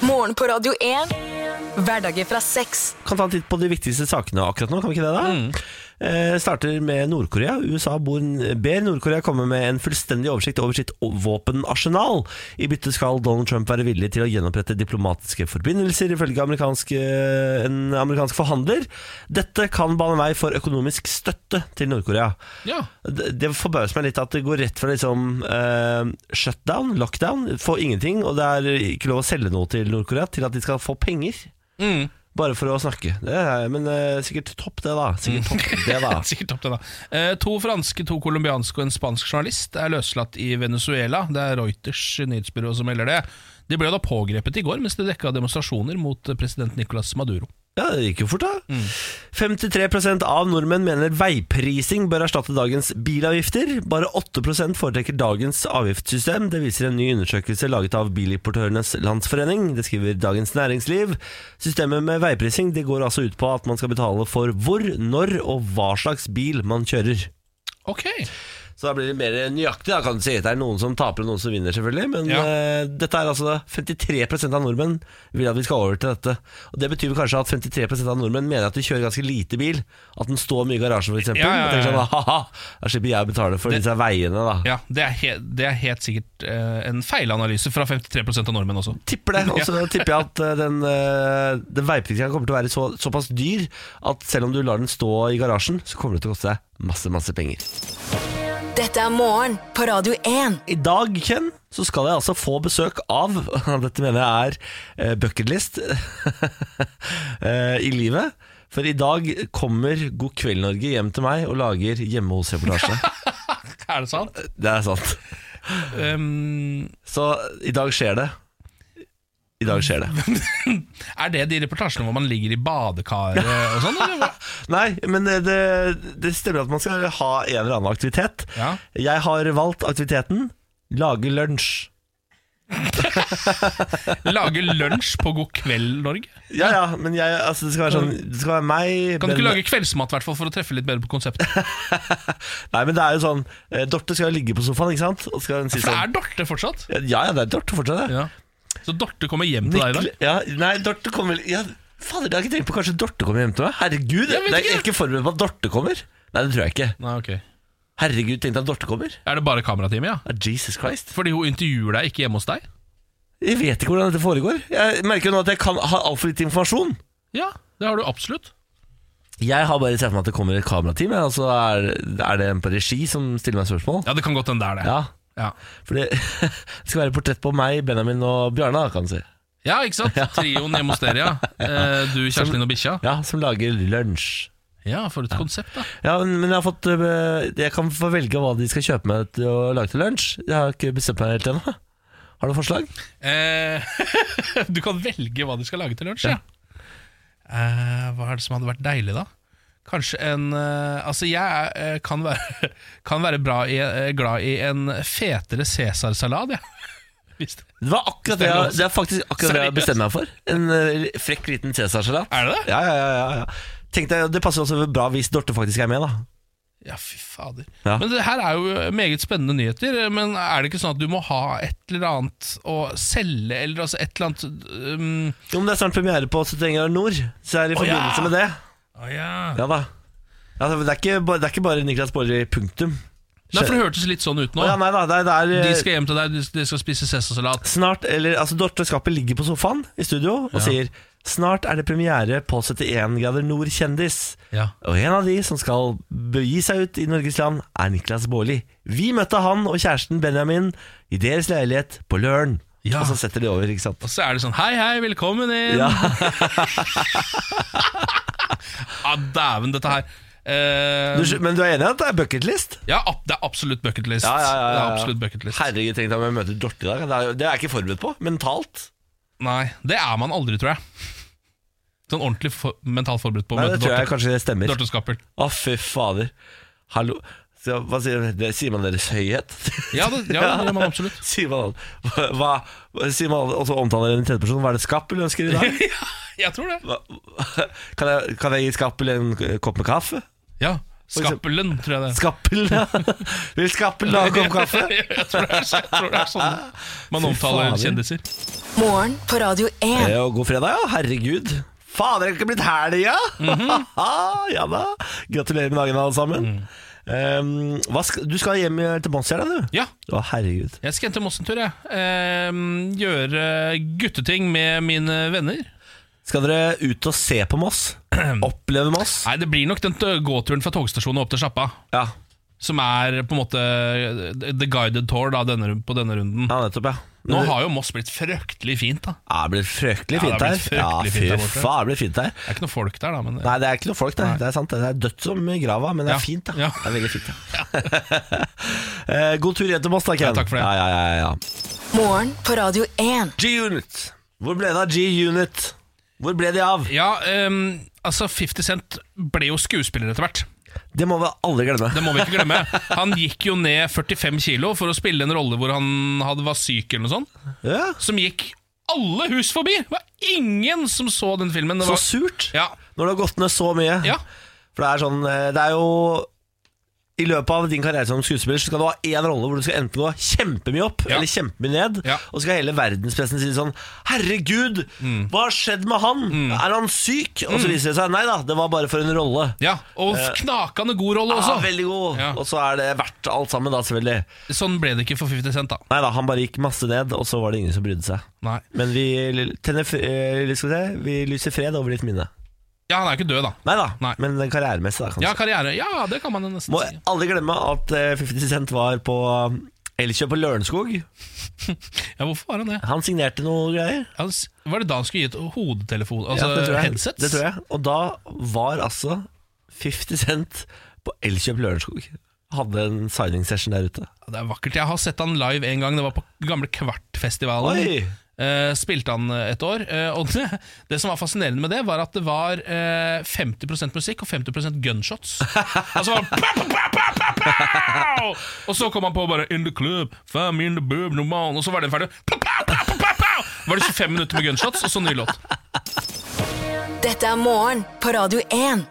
Speaker 3: Morgen på Radio 1. Hverdager fra seks.
Speaker 1: Kan ta en titt på de viktigste sakene akkurat nå, kan vi ikke det da? Eh, starter med Nord-Korea. USA bor, ber Nord-Korea komme med en fullstendig oversikt over sitt o- våpenarsenal. I bytte skal Donald Trump være villig til å gjenopprette diplomatiske forbindelser, ifølge amerikansk, eh, en amerikansk forhandler. Dette kan bane vei for økonomisk støtte til Nord-Korea.
Speaker 2: Ja.
Speaker 1: Det det forbauser meg litt at det går rett fra liksom, eh, shutdown, lockdown, få ingenting, og det er ikke lov å selge noe til Nord-Korea, til at de skal få penger.
Speaker 2: Mm.
Speaker 1: Bare for å snakke. Det er, men eh, sikkert topp det, da. Sikkert topp det da
Speaker 2: Sikkert topp det da Eh, To franske, to colombianske og en spansk journalist er løslatt i Venezuela. Det er Reuters nyhetsbyrå som melder det. De ble da pågrepet i går mens de dekka demonstrasjoner mot president Nicolas Maduro.
Speaker 1: Ja, det gikk jo fort, da. 53 av nordmenn mener veiprising bør erstatte dagens bilavgifter. Bare 8 foretrekker dagens avgiftssystem. Det viser en ny undersøkelse laget av Bilimportørenes Landsforening. Det skriver Dagens Næringsliv. Systemet med veiprising det går altså ut på at man skal betale for hvor, når og hva slags bil man kjører.
Speaker 2: Ok
Speaker 1: Så da blir det mer nøyaktig, da, kan du si. Det er noen som taper og noen som vinner, selvfølgelig. Men
Speaker 2: Ja.
Speaker 1: eh, dette er altså 53 av nordmenn vil at vi skal over til dette. Og Det betyr vel kanskje at 53 av nordmenn mener at de kjører ganske lite bil. At den står mye i garasjen, f.eks.
Speaker 2: Ja, ja, ja, ja.
Speaker 1: Ha-ha, da slipper jeg å betale for disse veiene, da.
Speaker 2: Ja, det er, he det er helt sikkert eh, en feilanalyse fra 53 av nordmenn også.
Speaker 1: Tipper det, og så tipper jeg at eh, den, uh, den veiprisingen kommer til å være så, såpass dyr at selv om du lar den stå i garasjen, så kommer det til å koste deg masse, masse penger.
Speaker 3: Dette er morgen på Radio 1.
Speaker 1: I dag, Ken, så skal jeg altså få besøk av Dette mener jeg er eh, bucketlist eh, i livet. For i dag kommer God kveld Norge hjem til meg og lager hjemme hos-reportasje.
Speaker 2: Er det sant?
Speaker 1: Det er sant.
Speaker 2: Um,
Speaker 1: Så i dag skjer det. I dag skjer det.
Speaker 2: er det de reportasjene hvor man ligger i badekaret og sånn? eller hva?
Speaker 1: Nei, men det, det- det stemmer at man skal ha en eller annen aktivitet.
Speaker 2: Ja.
Speaker 1: Jeg har valgt aktiviteten lage lunsj.
Speaker 2: Lage lunsj på God kveld, Norge?
Speaker 1: Ja ja, men jeg, altså, det skal være sånn Det skal være meg
Speaker 2: Kan du
Speaker 1: Ben-
Speaker 2: ikke lage kveldsmat i hvert fall for å treffe litt bedre på konseptet?
Speaker 1: Nei, men det er jo sånn eh, Dorte skal jo ligge på sofaen, ikke sant? Og så skal hun si
Speaker 2: For
Speaker 1: sånn
Speaker 2: det er Dorte fortsatt?
Speaker 1: Ja, ja, det er Dorte fortsatt, det.
Speaker 2: Ja. Så Dorte kommer hjem til deg i dag?
Speaker 1: Nikle- Ja, nei, Dorte kommer ja, Fader, det har jeg ikke tenkt på. Kanskje Dorte kommer hjem til meg? Herregud,
Speaker 2: Jeg
Speaker 1: jeg,
Speaker 2: vet
Speaker 1: er, jeg
Speaker 2: ikke.
Speaker 1: er ikke forberedt på at Dorte kommer. Nei, det tror jeg ikke.
Speaker 2: Nei, ok Er
Speaker 1: Herregud, tenk deg at Dorte kommer.
Speaker 2: det bare kamerateamet, ja?
Speaker 1: Ah, Jesus Christ.
Speaker 2: Fordi hun intervjuer deg ikke hjemme hos deg?
Speaker 1: Jeg vet ikke hvordan dette foregår. Jeg merker jo nå at jeg kan har altfor lite informasjon.
Speaker 2: Ja, det har du absolutt.
Speaker 1: Jeg har bare sett for meg at det kommer et kamerateam, jeg, og så er, er det en på regi som stiller meg spørsmål.
Speaker 2: Ja, det kan godt hende det er det.
Speaker 1: Ja,
Speaker 2: Ja.
Speaker 1: for det det skal være portrett på meg, Benjamin og Bjarne, da, kan du si.
Speaker 2: Ja, ikke sant? Trioen hjemme hos dere, ja. Eh, Du, Kjerstin og bikkja.
Speaker 1: Ja, Som lager lunsj.
Speaker 2: Ja, for et konsept, da.
Speaker 1: Ja, men men jeg har fått øh, Jeg kan få velge hva de skal kjøpe meg til å lage til lunsj. Jeg har ikke bestemt meg helt ennå. Har du forslag?
Speaker 2: Eh, du kan velge hva de skal lage til lunsj, ja. Eh, hva er det som hadde vært deilig, da? Kanskje en eh, Altså, jeg er, eh, kan være, kan være bra i, eh, glad i en fetere cæsarsalat, jeg. Hvis det-
Speaker 1: Det, var akkurat det, jeg, det er faktisk akkurat det jeg bestemmer meg for. En øh, frekk liten cæsarsalat.
Speaker 2: Er det det?
Speaker 1: Ja, ja, ja, ja, ja. Tenk deg, Det passer også bra hvis Dorte faktisk er med, da.
Speaker 2: Ja, fy fader.
Speaker 1: Ja.
Speaker 2: Men det her er jo meget spennende nyheter. Men er det ikke sånn at du må ha et eller annet å selge, eller altså et eller annet um,
Speaker 1: Jo, men Det er snart premiere på 71 grader nord, så jeg er i
Speaker 2: Å, ja!
Speaker 1: forbindelse med det.
Speaker 2: Å ja.
Speaker 1: Ja da altså, det, er ikke, ba- det er ikke bare Niklas Baarli, punktum.
Speaker 2: Nei, for det hørtes litt sånn ut nå.
Speaker 1: Å, ja, nei da, det er, det er eh,
Speaker 2: De skal hjem til deg, de- de skal spise cæsarsalat.
Speaker 1: Snart, eller altså Dorte Skappet ligger på sofaen i studio og sier Snart er det premiere på 71 grader nord kjendis
Speaker 2: Ja.
Speaker 1: Og en av de som skal begi seg ut i Norges land er Niklas Bårli Vi møtte han og kjæresten Benjamin i deres leilighet på Løren
Speaker 2: Ja.
Speaker 1: Og så setter de over, ikke sant?
Speaker 2: Og så er det sånn Hei, hei, velkommen inn!
Speaker 1: Ja.
Speaker 2: Ja, dæven, dette her. Eh,
Speaker 1: Du, skj- men du er enig i at det er bucketlist?
Speaker 2: ja, ab- det er absolutt bucketlist. Det er absolutt bucketlist.
Speaker 1: Herregud, tenkte jeg om jeg møter Dorte i dag Det er, jo- det er jeg ikke forberedt på, mentalt
Speaker 2: Nei, det er man aldri, tror jeg. Sånn ordentlig for, mentalt forberedt på å
Speaker 1: Nei,
Speaker 2: møte
Speaker 1: det tror jeg
Speaker 2: Dorte,
Speaker 1: kanskje det stemmer
Speaker 2: Dorte Skappert.
Speaker 1: Å fy fader Hallo så, Hva sier, det, sier man deres høyhet?
Speaker 2: Ja, det, ja, det gjør man absolutt.
Speaker 1: Sier man, hva, hva- hva, sier man og så omtaler en tredjeperson Hva er det skapp eller ønsker i dag?
Speaker 2: ja, jeg tror det.
Speaker 1: Hva, kan, jeg, kan jeg gi skappel en k- kopp med kaffe?
Speaker 2: Ja, Skappelen, tror jeg det.
Speaker 1: Skappel, ja Vil skappel ha en kopp kaffe?
Speaker 2: jeg, tror det er, jeg tror det er sånn man
Speaker 1: Fy
Speaker 2: omtaler
Speaker 1: fader.
Speaker 2: kjendiser.
Speaker 3: Morgen på Radio 1.
Speaker 1: Eh, og god fredag, ja, herregud Fader, det har ikke blitt helg, ja
Speaker 2: Mhm.
Speaker 1: Ja da, gratulerer med dagen alle sammen
Speaker 2: Mm.
Speaker 1: um, hva skal, Du skal hjem eh, til Monster, da, du?
Speaker 2: Ja,
Speaker 1: Å, herregud
Speaker 2: Jeg skal hjem til Moss en tur, jeg. Ehm, gjøre gutteting med mine venner.
Speaker 1: Skal dere ut og se på Moss? Oppleve Moss?
Speaker 2: Nei, det blir nok den t- gåturen fra togstasjonen opp til sjappa.
Speaker 1: Ja,
Speaker 2: Som er på en måte the guided eh, tour da, denne, på denne runden.
Speaker 1: ja nettopp, ja
Speaker 2: Nå har jo Moss blitt fryktelig fint, da.
Speaker 1: Ja, det blir fryktelig
Speaker 2: Ja, det
Speaker 1: fint her.
Speaker 2: blir
Speaker 1: Ja,
Speaker 2: fryktelig
Speaker 1: fy
Speaker 2: fint der borte.
Speaker 1: faen, det blir fint her.
Speaker 2: Det er ikke noe folk der, da, men eh.
Speaker 1: Nei, det er ikke noe folk, det. Det er sant, det. Det er dødt som i grava, men det
Speaker 2: Ja.
Speaker 1: er fint, da.
Speaker 2: Ja.
Speaker 1: Det er veldig fint, da. Eh, God tur hjem til Moss, da, Ken.
Speaker 2: Ja, takk for det.
Speaker 1: Ja, ja, ja, ja.
Speaker 3: Morgen på Radio 1.
Speaker 1: G-Unit. Hvor ble det av G-Unit? Hvor ble de av?
Speaker 2: Ja, ehm, altså 50 Cent ble jo skuespiller etter hvert.
Speaker 1: Det må vi aldri glemme.
Speaker 2: Det må vi ikke glemme. Han gikk jo ned 45 kilo for å spille en rolle hvor han hadde, var syk eller noe sånt.
Speaker 1: Ja,
Speaker 2: Som gikk alle hus forbi! Det var ingen som så den filmen. Det
Speaker 1: så
Speaker 2: var,
Speaker 1: surt.
Speaker 2: ja,
Speaker 1: Når det har gått ned så mye.
Speaker 2: ja,
Speaker 1: For det er sånn eh, Det er jo I løpet av din karriere som skuespiller Så skal du ha en rolle hvor du skal enten gå kjempemye opp
Speaker 2: Ja.
Speaker 1: Eller kjempemye ned
Speaker 2: Ja.
Speaker 1: Og så skal hele verdenspressen si sånn Herregud,
Speaker 2: Mm.
Speaker 1: hva har skjedd med han? Er han syk? Og så viser det seg Nei da, det var bare for en rolle
Speaker 2: ja. Og knakende god rolle
Speaker 1: Eh, Ja,
Speaker 2: også.
Speaker 1: veldig god
Speaker 2: Ja.
Speaker 1: Og så er det verdt alt sammen da, selvfølgelig Nei
Speaker 2: Sånn ble det ikke for 50 Cent, da.
Speaker 1: da, han bare gikk masse ned Og så var det ingen som brydde seg
Speaker 2: Nei.
Speaker 1: Men vi, tenner, fr- eh, skal vi, se, vi lyser fred over ditt minne
Speaker 2: Ja, han er jo ikke død, da.
Speaker 1: Nei da,
Speaker 2: Nei.
Speaker 1: men karrieremessig da kanskje
Speaker 2: Ja, karriere. Ja, det kan man jo nesten
Speaker 1: Må
Speaker 2: si.
Speaker 1: aldri glemme at eh, 50 Cent var på eh, Elkjøp på Lørenskog.
Speaker 2: Ja, hvorfor var han det?
Speaker 1: Han signerte noe greier.
Speaker 2: Ja, s- var det da han skulle gi et hodetelefon? Altså
Speaker 1: Ja, det tror jeg.
Speaker 2: headsets?
Speaker 1: Det tror jeg. Og da var altså 50 Cent på Elkjøp Lørenskog. Hadde en signing session der ute.
Speaker 2: Ja, Det er vakkert. Jeg har sett han live en gang. Det var på gamle Kvartfestivalen.
Speaker 1: Oi!
Speaker 2: Eh, spilte han eh, et år. eh, og det, det som var fascinerende med det, var at det var eh, 50 musikk og 50 gunshots. Altså var det pow, pow, pow, pow, pow, pow! Og så kom han på bare In the club, fam in the boob, no man. Og så var den ferdig. Pow, pow, pow, pow, pow, pow! Var det 25 minutter med gunshots, og så ny låt.
Speaker 3: Dette er morgen på Radio 1.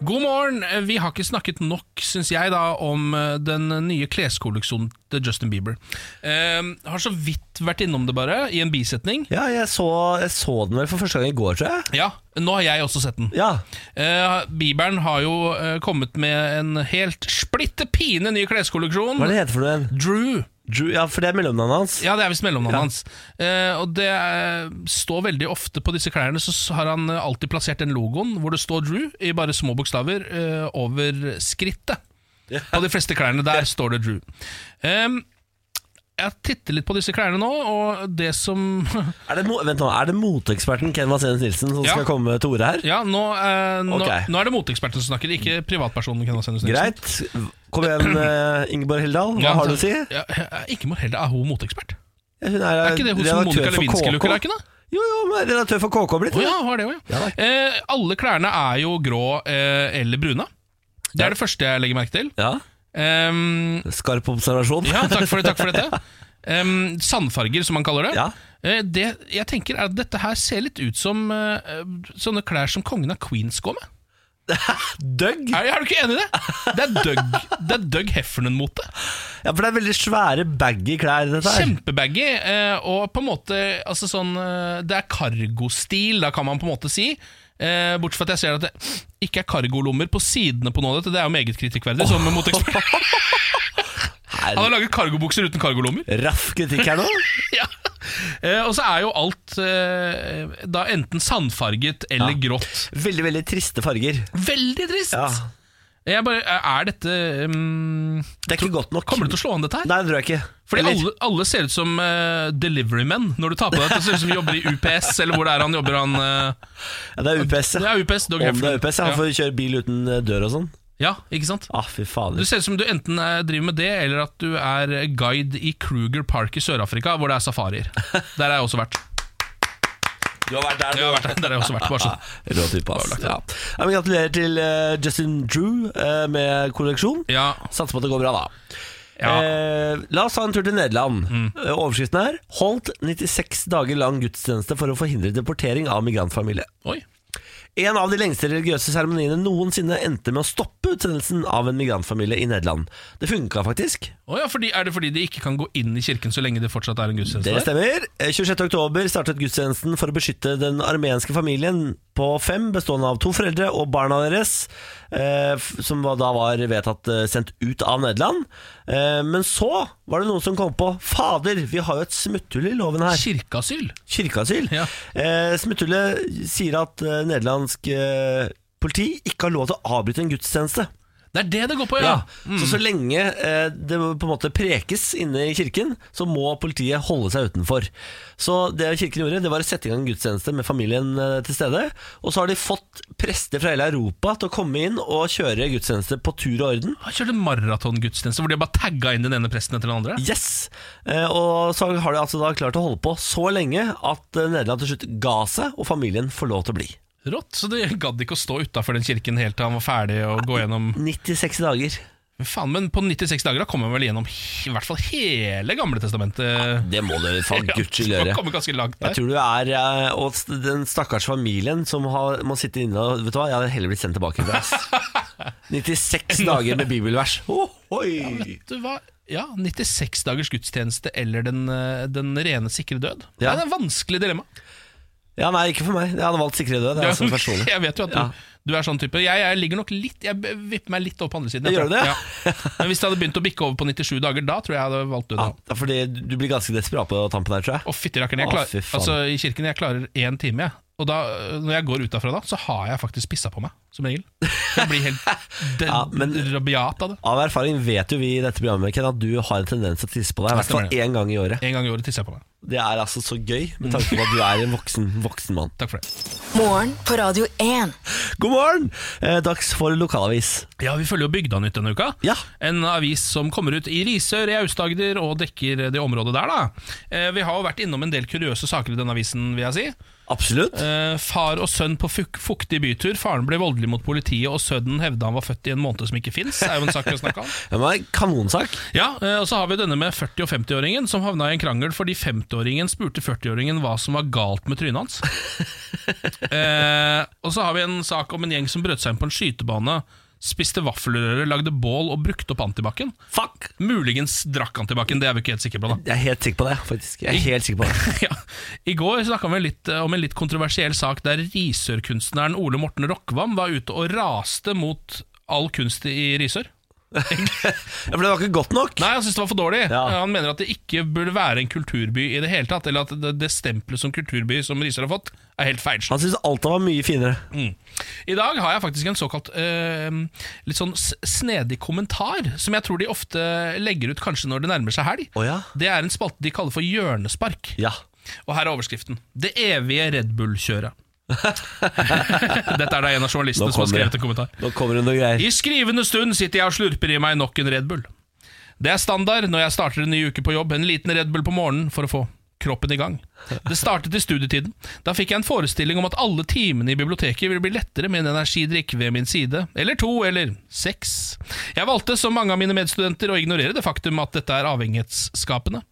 Speaker 2: God morgen! Vi har ikke snakket nok, syns jeg, da, om eh, den nye kleskolleksjonen til Justin Bieber. Eh, har så vidt vært innom det, bare, i en bisetning.
Speaker 1: Ja, jeg så, jeg så den vel for første gang i går, tror jeg.
Speaker 2: Ja, nå har jeg også sett den.
Speaker 1: Ja,
Speaker 2: Eh, Bieberen har jo eh, kommet med en helt splitte pine ny kleskolleksjon.
Speaker 1: Hva er det heter for noe igjen?
Speaker 2: Drew.
Speaker 1: Drew, ja, for det er mellomnavnet hans.
Speaker 2: Ja, det er visst mellomnavnet hans. Eh, og det eh, står veldig ofte på disse klærne, så s- har han eh, alltid plassert den logoen hvor det står Drew i bare små bokstaver eh, over skrittet. På de fleste klærne der står det Drew. Em, jeg titter litt på disse klærne nå, og det som
Speaker 1: Er det, mo- vent nå, er det moteeksperten Ken Vasenus Nilsen som
Speaker 2: Ja.
Speaker 1: skal komme til orde her?
Speaker 2: Ja, nå, eh, nå,
Speaker 1: Ok.
Speaker 2: nå er det moteeksperten som snakker, ikke privatpersonen. Kan jeg sende snitsen.
Speaker 1: Greit. Kom igjen, eh, Ingeborg Heldal. Hva
Speaker 2: Ja,
Speaker 1: har du å si?
Speaker 2: Ja, ikke må heller, Er hun moteekspert?
Speaker 1: Hun
Speaker 2: Er ikke det hun som Monica Lewinsky lukker er ikke det?
Speaker 1: Jo, jo, men redaktør for KK blitt
Speaker 2: Å
Speaker 1: det.
Speaker 2: ja, var det jo, ja.
Speaker 1: Ja,
Speaker 2: eh, alle klærne er jo grå eh, eller brune. Det er det første jeg legger merke til.
Speaker 1: ja.
Speaker 2: Ehm,
Speaker 1: Skarp observasjon.
Speaker 2: ja, takk for, det, takk for dette. Ehm, sandfarger, som man kaller det.
Speaker 1: Ja.
Speaker 2: Eh, det. Jeg tenker er at Dette her ser litt ut som eh, sånne klær som kongen av Queens går med.
Speaker 1: Døgg!
Speaker 2: Er, er du ikke enig i det? Det er Doug, det er Doug Heffernan-mote.
Speaker 1: Ja, for det er veldig svære baggy klær i dette her.
Speaker 2: Kjempebaggy, eh, og på en måte altså sånn, eh, Det er cargostil, da kan man på en måte si. Eh, bortsett fra at jeg ser at det ikke er cargolommer på sidene på noe av dette. Det er jo meget kritikkverdig. sånn Som motekspert. Han har laget cargobukser uten cargolommer.
Speaker 1: Raff kritikk her nå.
Speaker 2: Ja. Eh, og så er jo alt eh, da enten sandfarget eller grått.
Speaker 1: Veldig, veldig triste farger.
Speaker 2: Veldig trist!
Speaker 1: Ja.
Speaker 2: Jeg bare, er dette um,
Speaker 1: Det er ikke godt nok.
Speaker 2: Kommer det til å slå an, dette her?
Speaker 1: Nei, det tror jeg ikke.
Speaker 2: Fordi
Speaker 1: Eller-
Speaker 2: alle, alle ser ut som eh, delivery men når du tar på deg dette. Ser ut som de jobber i UPS, eller hvor det er han jobber han eh,
Speaker 1: ja, Det er UPS,
Speaker 2: Det
Speaker 1: ja.
Speaker 2: er UPS,
Speaker 1: Om
Speaker 2: Doug
Speaker 1: det er
Speaker 2: Heffernan.
Speaker 1: UPS, ja. Han får kjøre bil uten eh, dør og sånn.
Speaker 2: Ja, ikke sant?
Speaker 1: Ah, fy
Speaker 2: Du
Speaker 1: fader.
Speaker 2: ser ut som du enten eh, driver med det, eller at du er guide i Kruger Park i Sør-Afrika, hvor det er safarier. Der har jeg også vært.
Speaker 1: Du har vært
Speaker 2: Jeg har vært der, der har jeg også vært, bare sånn.
Speaker 1: Rå type, ass. Ja. Ja, men gratulerer til eh, Justin Drew eh, med kolleksjon.
Speaker 2: Ja,
Speaker 1: Satser på at det går bra, da.
Speaker 2: ja.
Speaker 1: Eh, la oss ta en tur til Nederland. Eh, Overskriften er 'Holdt 96 dager lang gudstjeneste for å forhindre deportering av migrantfamilie'.
Speaker 2: Oi.
Speaker 1: En av de lengste religiøse seremoniene noensinne endte med å stoppe utsendelsen av en migrantfamilie i Nederland. Det funka faktisk.
Speaker 2: Å ja, fordi, er det fordi de ikke kan gå inn i kirken så lenge det fortsatt er en gudstjeneste
Speaker 1: Det
Speaker 2: der?
Speaker 1: stemmer. Eh, 26. oktober startet gudstjenesten for å beskytte den armenske familien på fem, bestående av to foreldre og barna deres, eh, f- som var- da var vedtatt eh, sendt ut av Nederland. Eh, men så var det noen som kom på Fader, vi har jo et smutthull i loven her.
Speaker 2: Kirkeasyl?
Speaker 1: Kirkeasyl.
Speaker 2: Ja.
Speaker 1: Eh, Smutthullet sier at eh, nederlandsk eh, politi ikke har lov til å avbryte en gudstjeneste.
Speaker 2: Det er det det går på, ja.
Speaker 1: Ja, Mm. Så så lenge eh, det på en måte prekes inne i kirken, så må politiet holde seg utenfor. Så det kirken gjorde, det var å sette i gang en gudstjeneste med familien eh, til stede. Og så har de fått prester fra hele Europa til å komme inn og kjøre gudstjeneste på tur og orden.
Speaker 2: Han kjørte maratongudstjeneste hvor de bare tagga inn den ene presten etter den andre.
Speaker 1: Yes! Eh, og så har de altså da klart å holde på så lenge at eh, Nederland til slutt ga seg, og familien får lov til å bli.
Speaker 2: Rått, så de gadd ikke å stå utafor den kirken helt til han var ferdig og gå gjennom
Speaker 1: 96 dager.
Speaker 2: Men Faen, men på 96 dager da kommer han vel gjennom he- i hvert fall hele Gamle Testamentet.
Speaker 1: Det må du for guds skyld
Speaker 2: Ja, så
Speaker 1: gjøre.
Speaker 2: han kommer ganske langt
Speaker 1: Jeg
Speaker 2: der.
Speaker 1: tror du er eh, Og s- den stakkars familien som har, må sitte inne og Vet du hva, jeg hadde heller blitt sendt tilbake. i plass. 96 dager med bibelvers. Oh, oi.
Speaker 2: Du, hva? Ja, 96 dagers gudstjeneste eller den, eh, den rene, sikre død.
Speaker 1: Ja.
Speaker 2: Det er et vanskelig dilemma.
Speaker 1: Ja, nei, ikke for meg. Jeg hadde valgt sikre død. Det er altså personlig.
Speaker 2: jeg vet jo at du,
Speaker 1: Ja.
Speaker 2: du er sånn type. Jeg, jeg ligger nok litt Jeg b- vipper meg litt opp på andre siden. jeg
Speaker 1: Gjør
Speaker 2: tror.
Speaker 1: du det?
Speaker 2: Ja. Men hvis det hadde begynt å bikke over på 97 dager, da tror jeg jeg hadde valgt
Speaker 1: Ja,
Speaker 2: døden.
Speaker 1: fordi du blir ganske desperat på tampen her, tror jeg.
Speaker 2: Å, fytti rakkeren. Jeg
Speaker 1: Å,
Speaker 2: klarer,
Speaker 1: fy faen.
Speaker 2: altså, I kirken jeg klarer én time, jeg. Og da, når jeg går utafra da, så har jeg faktisk pissa på meg, som regel. Jeg blir helt den,
Speaker 1: Ja, men-
Speaker 2: rabiat av det.
Speaker 1: Av erfaring vet jo vi i dette programmet Ken, at du har en tendens til å tisse på deg. I hvert fall én gang i året.
Speaker 2: En gang i året tisser jeg på meg.
Speaker 1: Det er altså så gøy, med tanke på at du er en voksen, voksen mann.
Speaker 2: Takk for det.
Speaker 3: Morgen på Radio 1.
Speaker 1: God morgen! Eh, Dags for lokalavis.
Speaker 2: Ja, Vi følger jo Bygdanytt denne uka.
Speaker 1: Ja.
Speaker 2: En avis som kommer ut i Risør i Aust-Agder og dekker det området der. da eh, Vi har jo vært innom en del kuriøse saker i denne avisen, vil jeg si.
Speaker 1: Absolutt.
Speaker 2: Eh, far og sønn på fuk fuktig bytur. Faren ble voldelig mot politiet, og sønnen hevda han var født i en måned som ikke fins. er jo en sak vi har snakket om.
Speaker 1: Ja, men Kanonsak.
Speaker 2: Ja, eh, og så har vi denne med 40- og 50-åringen som havna i en krangel fordi 50-åringen spurte 40-åringen hva som var galt med trynet hans. eh, og så har vi en sak om en gjeng som brøt seg inn på en skytebane, spiste vaffelrøre, lagde bål og brukte opp antibac-en.
Speaker 1: Fuck!
Speaker 2: Muligens drakk antibac-en, det er vi ikke helt sikre på, da.
Speaker 1: Jeg er helt sikker på det, faktisk. Jeg er helt sikker på det.
Speaker 2: ja. I går snakka vi litt eh, om en litt kontroversiell sak der Risør-kunstneren Ole Morten Rockvam var ute og raste mot all kunst i Risør.
Speaker 1: Ja, For det var ikke godt nok?
Speaker 2: Nei, han synes det var for dårlig.
Speaker 1: Ja.
Speaker 2: Han mener at det ikke burde være en kulturby i det hele tatt. Eller at det, det stempelet som kulturby som Risør har fått, er helt feilslått.
Speaker 1: Han syntes Alta var mye finere.
Speaker 2: Mm. I dag har jeg faktisk en såkalt eh, litt sånn s- snedig kommentar, som jeg tror de ofte legger ut kanskje når det nærmer seg helg.
Speaker 1: Å ja?
Speaker 2: Det er en spalte de kaller for hjørnespark.
Speaker 1: Ja.
Speaker 2: Og her er overskriften. Det evige Red Bull-kjøret. Dette er da en av journalistene
Speaker 1: Nå
Speaker 2: som har
Speaker 1: kommer det.
Speaker 2: skrevet en kommentar.
Speaker 1: Nå kommer det noe greier.
Speaker 2: I skrivende stund sitter jeg og slurper i meg nok en Red Bull. Det er standard når jeg starter en ny uke på jobb, en liten Red Bull på morgenen for å få kroppen i gang. Det startet i studietiden. Da fikk jeg en forestilling om at alle timene i biblioteket ville bli lettere med en energidrikk ved min side, eller to, eller seks. Jeg valgte, som mange av mine medstudenter, å ignorere det faktum at dette er avhengighetsskapende.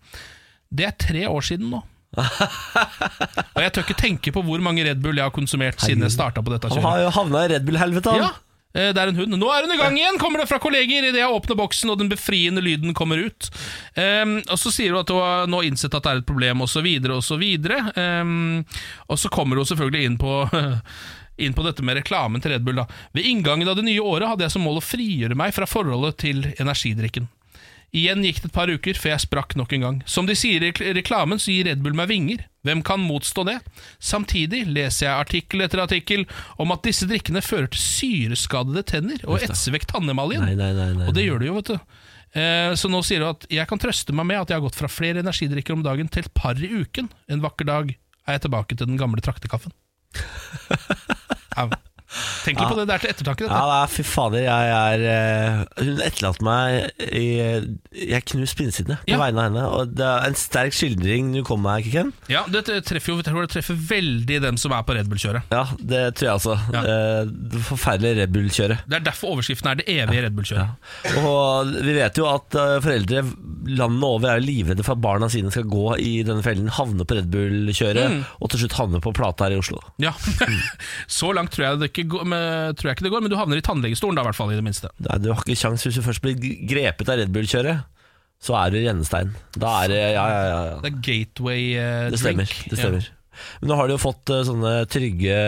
Speaker 2: Det er tre år siden nå. Og jeg tør ikke tenke på hvor mange Red Bull jeg har konsumert siden jeg starta på dette
Speaker 1: Han
Speaker 2: kjøret.
Speaker 1: har jo havna i Red Bull-helvete, han.
Speaker 2: Ja, eh, det er en hund. Nå er hun i gang igjen, kommer det fra kolleger idet jeg åpner boksen og den befriende lyden kommer ut. Ehm, og Så sier hun at hun har nå innsett at det er et problem, osv., osv. Um, og så kommer hun selvfølgelig inn på Inn på dette med reklamen til Red Bull. Da. Ved inngangen av det nye året hadde jeg som mål å frigjøre meg fra forholdet til energidrikken. Igjen gikk det et par uker før jeg sprakk nok en gang. Som de sier i rekl- reklamen, så gir Red Bull meg vinger. Hvem kan motstå det? Samtidig leser jeg artikkel etter artikkel om at disse drikkene fører til syreskadede tenner og etser vekk tannemaljen.
Speaker 1: Nei, nei, nei, nei.
Speaker 2: Og det gjør det jo, vet du. Eh, Så nå sier du at jeg kan trøste meg med at jeg har gått fra flere energidrikker om dagen til et par i uken. En vakker dag er jeg tilbake til den gamle traktekaffen. Au. Tenk litt på det, det er til ettertanke,
Speaker 1: Ja,
Speaker 2: dette.
Speaker 1: nei, fy fader, jeg er eh, Hun etterlater meg i Jeg knust pinnesidene på
Speaker 2: Ja.
Speaker 1: vegne av henne. Og det er en sterk skildring du kom med her, Kikken.
Speaker 2: Ja, det treffer jo jeg tror det treffer veldig dem som er på Red Bull-kjøret.
Speaker 1: Ja, det tror jeg altså.
Speaker 2: Ja.
Speaker 1: Eh, Det forferdelige Red Bull-kjøret.
Speaker 2: Det er derfor overskriften er det evige Red Bull-kjøret.
Speaker 1: Og vi vet jo at eh, foreldre landet over er jo livredde for at barna sine skal gå i denne fellen, havne på Red Bull-kjøret, og til slutt havne på plata her i Oslo.
Speaker 2: Ja. Så langt tror jeg, det ikke går, men, tror jeg ikke det går, men du havner i tannlegestolen da, i hvert fall, i det minste.
Speaker 1: Nei, du har ikke kjangs hvis du først blir grepet av Red Bull-kjøret. Så er du rennestein. Da er det Ja, ja, ja. ja.
Speaker 2: Det er gateway eh,
Speaker 1: Det
Speaker 2: drink.
Speaker 1: stemmer. Det stemmer. Men nå har de jo fått eh, sånne trygge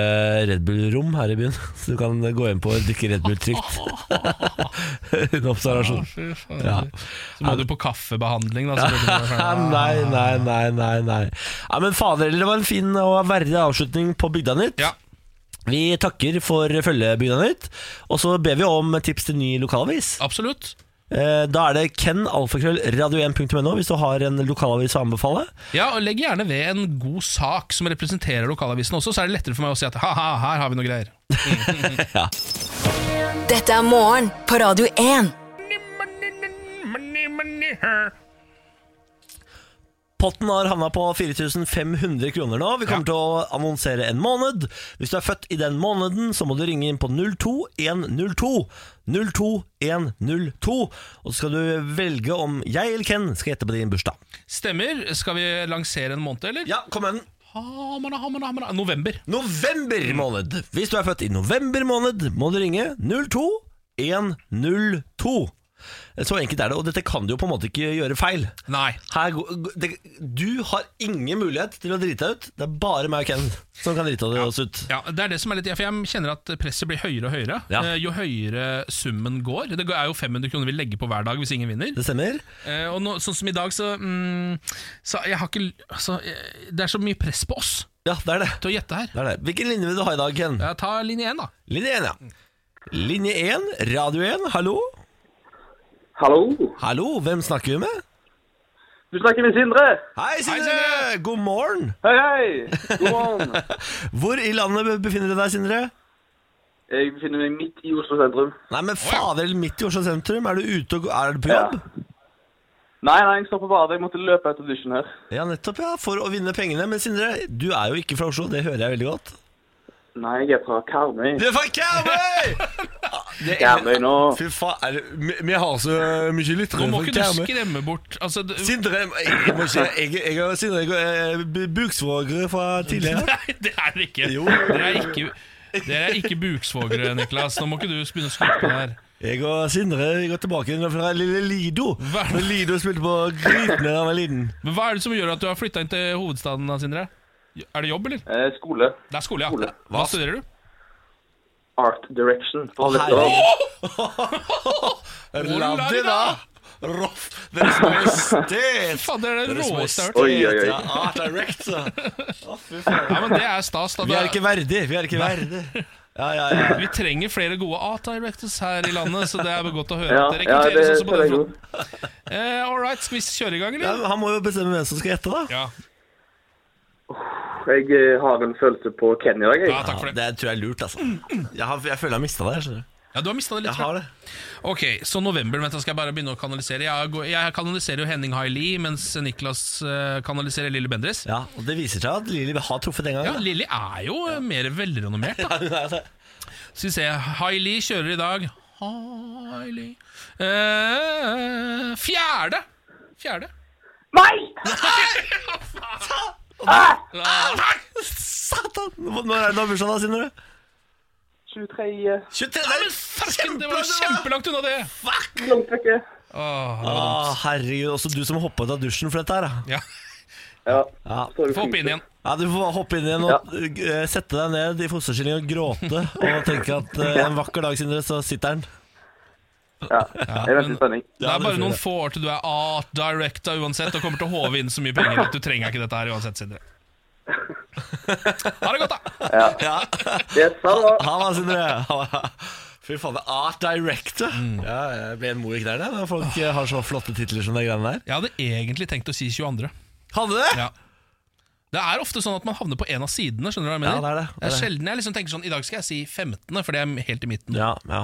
Speaker 1: Red Bull-rom her i byen, så du kan gå inn på og drikke Red Bull trygt. Under observasjon.
Speaker 2: Ja.
Speaker 1: Ja.
Speaker 2: Så må du på kaffebehandling, da. selvfølgelig.
Speaker 1: Nei, nei, nei, nei. nei. Ja, men fader, det var en fin og verdig avslutning på Bygda Nytt.
Speaker 2: Ja.
Speaker 1: Vi takker for følget Bygda Nytt, og så ber vi om tips til ny lokalavis.
Speaker 2: Absolutt.
Speaker 1: Eh, Da er det ken alfakrøll radio1.no hvis du har en lokalavis å anbefale.
Speaker 2: Ja, og Legg gjerne ved en god sak som representerer lokalavisen også, så er det lettere for meg å si at ha-ha, her har vi noe greier.
Speaker 3: Dette er morgen på Radio 1.
Speaker 1: Potten har havna på 4500 kroner nå. Vi kommer til å annonsere en måned. Hvis du er født i den måneden, så må du ringe inn på 02102. 02102. Og så skal du velge om jeg eller Ken skal gjette på din bursdag.
Speaker 2: Stemmer. Skal vi lansere en måned, eller?
Speaker 1: Ja, kom igjen.
Speaker 2: Hamana, hamana, hamana. November.
Speaker 1: November måned. Hvis du er født i november måned, må du ringe 02102. Så enkelt er det, og dette kan du jo på en måte ikke gjøre feil.
Speaker 2: Nei.
Speaker 1: Her, går- det, du har ingen mulighet til å drite deg ut. Det er bare meg og Ken som kan drite oss ut.
Speaker 2: Ja, det er det som er litt For jeg kjenner at presset blir høyere og høyere.
Speaker 1: Ja.
Speaker 2: Eh, Jo høyere summen går. Det er jo 500 kroner vi legger på hver dag hvis ingen vinner.
Speaker 1: Det stemmer.
Speaker 2: Eh, og nå, sånn som i dag, så, mm, så jeg har ikke l- altså, eh, Det er så mye press på oss
Speaker 1: Ja, det er det.
Speaker 2: til å gjette her.
Speaker 1: det er det. Hvilken linje vil du ha i dag, Ken?
Speaker 2: Ja, ta linje én, da.
Speaker 1: Linje 1, ja. Linje 1, Radio 1, hallo?
Speaker 4: Hallo.
Speaker 1: Hallo, hvem snakker vi med?
Speaker 4: Du snakker med Sindre.
Speaker 1: Hei, Sindre!
Speaker 2: Sindre!
Speaker 1: God morgen!
Speaker 4: Hei, hei. God morgen.
Speaker 1: Hvor i landet befinner du deg, Sindre?
Speaker 4: Jeg befinner meg midt i Oslo sentrum.
Speaker 1: Nei, men fader, midt i Oslo sentrum. Er du ute og g- er du på jobb?
Speaker 4: Nei, nei, jeg står på badet. Jeg måtte løpe etter dusjen her.
Speaker 1: Ja, nettopp, ja. For å vinne pengene. Men Sindre, du er jo ikke fra Oslo. Det hører jeg veldig godt.
Speaker 4: Nei, jeg er fra Karmøy.
Speaker 1: Du er fra Karmøy!
Speaker 4: Karmøy nå.
Speaker 1: Fy faen, er det, vi- vi har så mye lyttere
Speaker 2: Nå må
Speaker 1: fra
Speaker 2: ikke du
Speaker 1: Karmøy.
Speaker 2: skremme bort altså, du,
Speaker 1: Sindre, jeg, jeg må ikke Jeg, jeg, er Sindre jeg, er bu- buksvåger fra tidligere.
Speaker 2: Nei, det er det ikke.
Speaker 1: Jo.
Speaker 2: Dere er ikke, dere er ikke buksvågere, Niklas. Nå må ikke du begynne å skryte på det her.
Speaker 1: Jeg og Sindre vi går tilbake inn fra lille Lido.
Speaker 2: Hva?
Speaker 1: Når Lido spilte på Grytene da han var liten.
Speaker 2: Men Hva er det som gjør at du har flytta inn til hovedstaden, da, Sindre? Er det jobb, eller?
Speaker 4: Eh, skole.
Speaker 2: Det er skole, ja.
Speaker 4: Skole.
Speaker 2: Hva studerer du?
Speaker 4: Art Direction.
Speaker 1: Å,
Speaker 4: For dette år.
Speaker 1: Laddi, da! Roff. Deres Majestet.
Speaker 2: Faen, det er det
Speaker 1: Deres
Speaker 2: råeste jeg har hørt.
Speaker 4: Oi, oi, oi.
Speaker 1: Ja, Art Director. Å, fy faen.
Speaker 2: Ja, men det er stas. Da.
Speaker 1: Vi er
Speaker 2: Det
Speaker 1: ikke verdig. Vi er ikke verdig. Ja, ja, ja.
Speaker 2: Vi trenger flere gode art directors her i landet, så det er godt å høre.
Speaker 4: Ja,
Speaker 2: at det
Speaker 4: ja, det
Speaker 2: rekrutteres også på
Speaker 4: føler
Speaker 2: den
Speaker 4: jeg jo.
Speaker 2: fronten. Eh, all right, skal vi kjøre i gang,
Speaker 1: Ja,
Speaker 2: eller?
Speaker 1: men Han må jo bestemme hvem som skal gjette, da.
Speaker 2: Ja.
Speaker 4: Jeg eh, har en følelse på Ken i dag,
Speaker 2: ja,
Speaker 4: jeg.
Speaker 2: takk for
Speaker 1: Ja,
Speaker 2: det.
Speaker 1: det tror jeg er lurt, altså. Jeg, har, jeg føler jeg har mista det her. skjønner du.
Speaker 2: Ja, Du har mista det litt.
Speaker 1: Jeg har det.
Speaker 2: Ok, så november, vent, da skal jeg bare begynne å kanalisere. Jeg, går, jeg kanaliserer jo Henning Haili, mens Niklas eh, kanaliserer Lille Bendriss.
Speaker 1: Ja, og Det viser seg at Lilly har truffet en gang.
Speaker 2: Ja,
Speaker 1: da.
Speaker 2: Lilly er jo eh, mer velrenommert, da.
Speaker 1: Ja, det er altså, det.
Speaker 2: Skal vi se, Haili kjører i dag. Haili eh, Fjerde! Fjerde.
Speaker 4: Nei!
Speaker 2: Ja,
Speaker 1: Satan! Nå- Når er det du har bursdag, da, Sindre?
Speaker 4: 23.
Speaker 1: 23. Det er
Speaker 2: farken, det var jo kjempelangt unna det!
Speaker 4: Langt vekke.
Speaker 2: Åh,
Speaker 1: Å, herregud, også du som hoppet ut av dusjen for dette her. da.
Speaker 2: ja.
Speaker 4: Ja.
Speaker 1: Ja.
Speaker 4: så er det
Speaker 2: Få hoppe inn
Speaker 4: fint.
Speaker 2: igjen.
Speaker 1: Ja, Du får bare hoppe inn igjen og eh, sette deg ned i fosterstilling og gråte og tenke at eh, en vakker dag, Sindre, så sitter den.
Speaker 4: Ja. Jeg venter i spenning.
Speaker 2: Det
Speaker 1: Ja,
Speaker 2: er
Speaker 1: det
Speaker 2: bare
Speaker 1: tror
Speaker 2: noen
Speaker 1: jeg.
Speaker 2: få år til du er art director uansett og kommer til å håve inn så mye penger at du trenger ikke dette her uansett, Sindre. Ha det godt, da!
Speaker 1: Ja.
Speaker 4: Yes, ha det.
Speaker 1: Ha det, Sindre. Ha det. Fy faen, det er art director. Ja, jeg ble en mor i knærne når folk eh, har så flotte titler som de greiene der.
Speaker 2: Jeg hadde egentlig tenkt å si 22.
Speaker 1: Hadde det?
Speaker 2: Ja. Det er ofte sånn at man havner på en av sidene. skjønner du hva jeg mener?
Speaker 1: Ja, det er det, det er
Speaker 2: er
Speaker 1: det.
Speaker 2: sjelden jeg liksom tenker sånn I dag skal jeg si 15., for det er helt i midten.
Speaker 1: Ja, ja.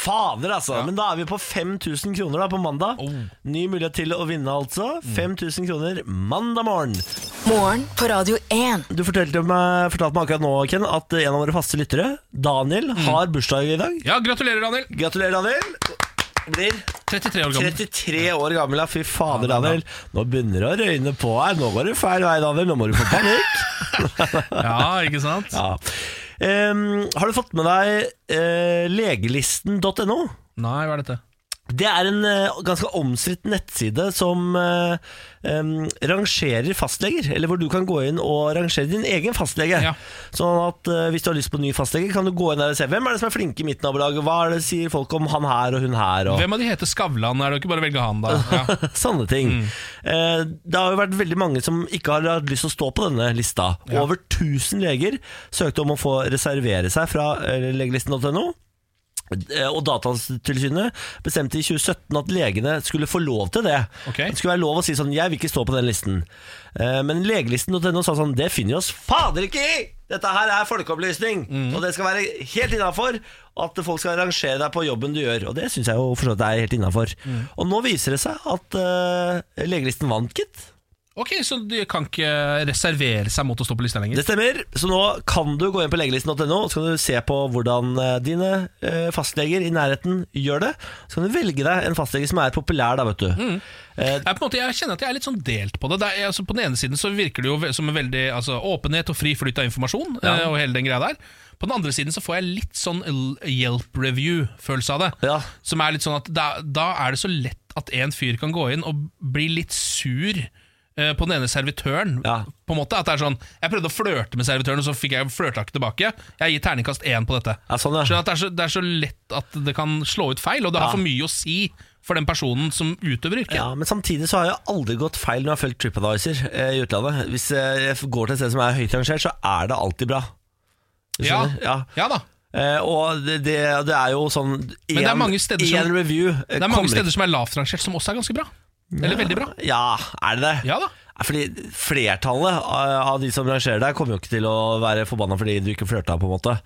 Speaker 1: Fader, altså. Men da er vi på 5000 kroner da på mandag.
Speaker 2: Oh.
Speaker 1: Ny mulighet til å vinne, altså. 5000 kroner mandag morgen.
Speaker 3: Morgen på Radio 1.
Speaker 1: Du fortalte meg, fortalte meg akkurat nå, Ken, at eh, en av våre faste lyttere, Daniel, har bursdag i dag.
Speaker 2: Ja, gratulerer, Daniel!
Speaker 1: Gratulerer, Daniel. Blir
Speaker 2: 33 år gammel.
Speaker 1: 33 år gammel, ja. Fy fader, Daniel. Nå begynner det å røyne på her. Nå går det feil vei, Daniel. Nå må du få panikk.
Speaker 2: Ja, ikke sant?
Speaker 1: Ja. Em, har du fått med deg eh, legelisten.no?
Speaker 2: Nei, hva er dette?
Speaker 1: Det er en eh, ganske omstridt nettside som eh, em, rangerer fastleger, eller hvor du kan gå inn og rangere din egen fastlege.
Speaker 2: Ja.
Speaker 1: Sånn at eh, hvis du har lyst på en ny fastlege, kan du gå inn der og se hvem er det som er flinke i mitt nabolag, hva er det sier folk om han her og hun her. Og
Speaker 2: Hvem av de heter Skavlan? Er det ikke bare å velge han, da? Ja.
Speaker 1: Sånne ting. Eh, Det har jo vært veldig mange som ikke har hatt lyst til å stå på denne lista.
Speaker 2: Ja.
Speaker 1: Over 1000 leger søkte om å få reservere seg fra eh, legelisten.no. Eh, Og Datatilsynet bestemte i 2017 at legene skulle få lov til det.
Speaker 2: Ok.
Speaker 1: Det skulle være lov å si sånn 'jeg vil ikke stå på den listen'. Eh, Men legelisten.no sa sånn 'det finner vi oss fader ikke i'! Dette her er folkeopplysning, og det skal være helt innafor at folk skal rangere deg på jobben du gjør. Og det syns jeg jo for så vidt er helt innafor. Og nå viser det seg at eh, legelisten vant, gitt.
Speaker 2: Ok, Så de kan ikke reservere seg mot å stå på lista lenger?
Speaker 1: Det stemmer. Så nå kan du gå inn på legelisten.no og så kan du se på hvordan eh, dine eh, fastleger i nærheten gjør det. Så kan du velge deg en fastlege som er populær, da, vet du.
Speaker 2: Mm.
Speaker 1: Eh,
Speaker 2: Jeg, på en måte, jeg kjenner at jeg er litt sånn delt på det. det er, altså, på den ene siden så virker det jo ve- som en veldig altså, åpenhet og fri flyt av informasjon. eh, og hele den greia der På den andre siden så får jeg litt sånn l- Yelp review-følelse av det.
Speaker 1: Ja.
Speaker 2: Som er litt sånn at da, da er det så lett at en fyr kan gå inn og bli litt sur eh, på den ene servitøren.
Speaker 1: Ja.
Speaker 2: På en måte At det er sånn Jeg prøvde å flørte med servitøren, og så fikk jeg flørta ikke tilbake. Jeg gir terningkast én på dette.
Speaker 1: Ja, sånn, ja.
Speaker 2: Skjønner at det er, så, det er så lett at det kan slå ut feil, og det har
Speaker 1: Ja.
Speaker 2: for mye å si for den personen som utøver yrket.
Speaker 1: Ja, Men samtidig så har jeg aldri gått feil når jeg har fulgt TripAdvisor eh, i utlandet. Hvis eh, jeg går til et sted som er høyt rangert, så er det alltid bra. Du
Speaker 2: Ja.
Speaker 1: skjønner? ja.
Speaker 2: Ja da.
Speaker 1: Eh, og det, det, det er jo sånn
Speaker 2: det er
Speaker 1: en-
Speaker 2: mange steder som-
Speaker 1: en review eh,
Speaker 2: Det er mange
Speaker 1: kommer
Speaker 2: steder som er lavt rangert, som også er ganske bra. Eller veldig bra.
Speaker 1: Ja, er det det?
Speaker 2: Ja da.
Speaker 1: Fordi flertallet av av de som rangerer deg, kommer jo ikke til å være forbanna fordi du ikke flørta, på en måte.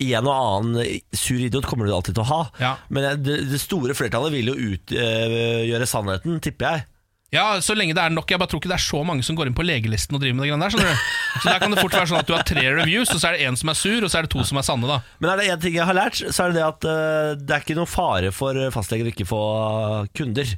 Speaker 1: En og annen sur idiot kommer du alltid til å ha.
Speaker 2: Ja.
Speaker 1: Men det, det store flertallet vil jo utgjøre sannheten, tipper jeg.
Speaker 2: Ja, Så lenge det er nok. Jeg bare tror ikke det er så mange som går inn på legelisten og driver med det greiene der. skjønner du? Så der kan det fort være sånn at du har tre reviews, og så er det én som er sur, og så er det to som er sanne, da.
Speaker 1: Men er det én ting jeg har lært, så er det det at eh, det er ikke noen fare for fastleger å ikke få kunder.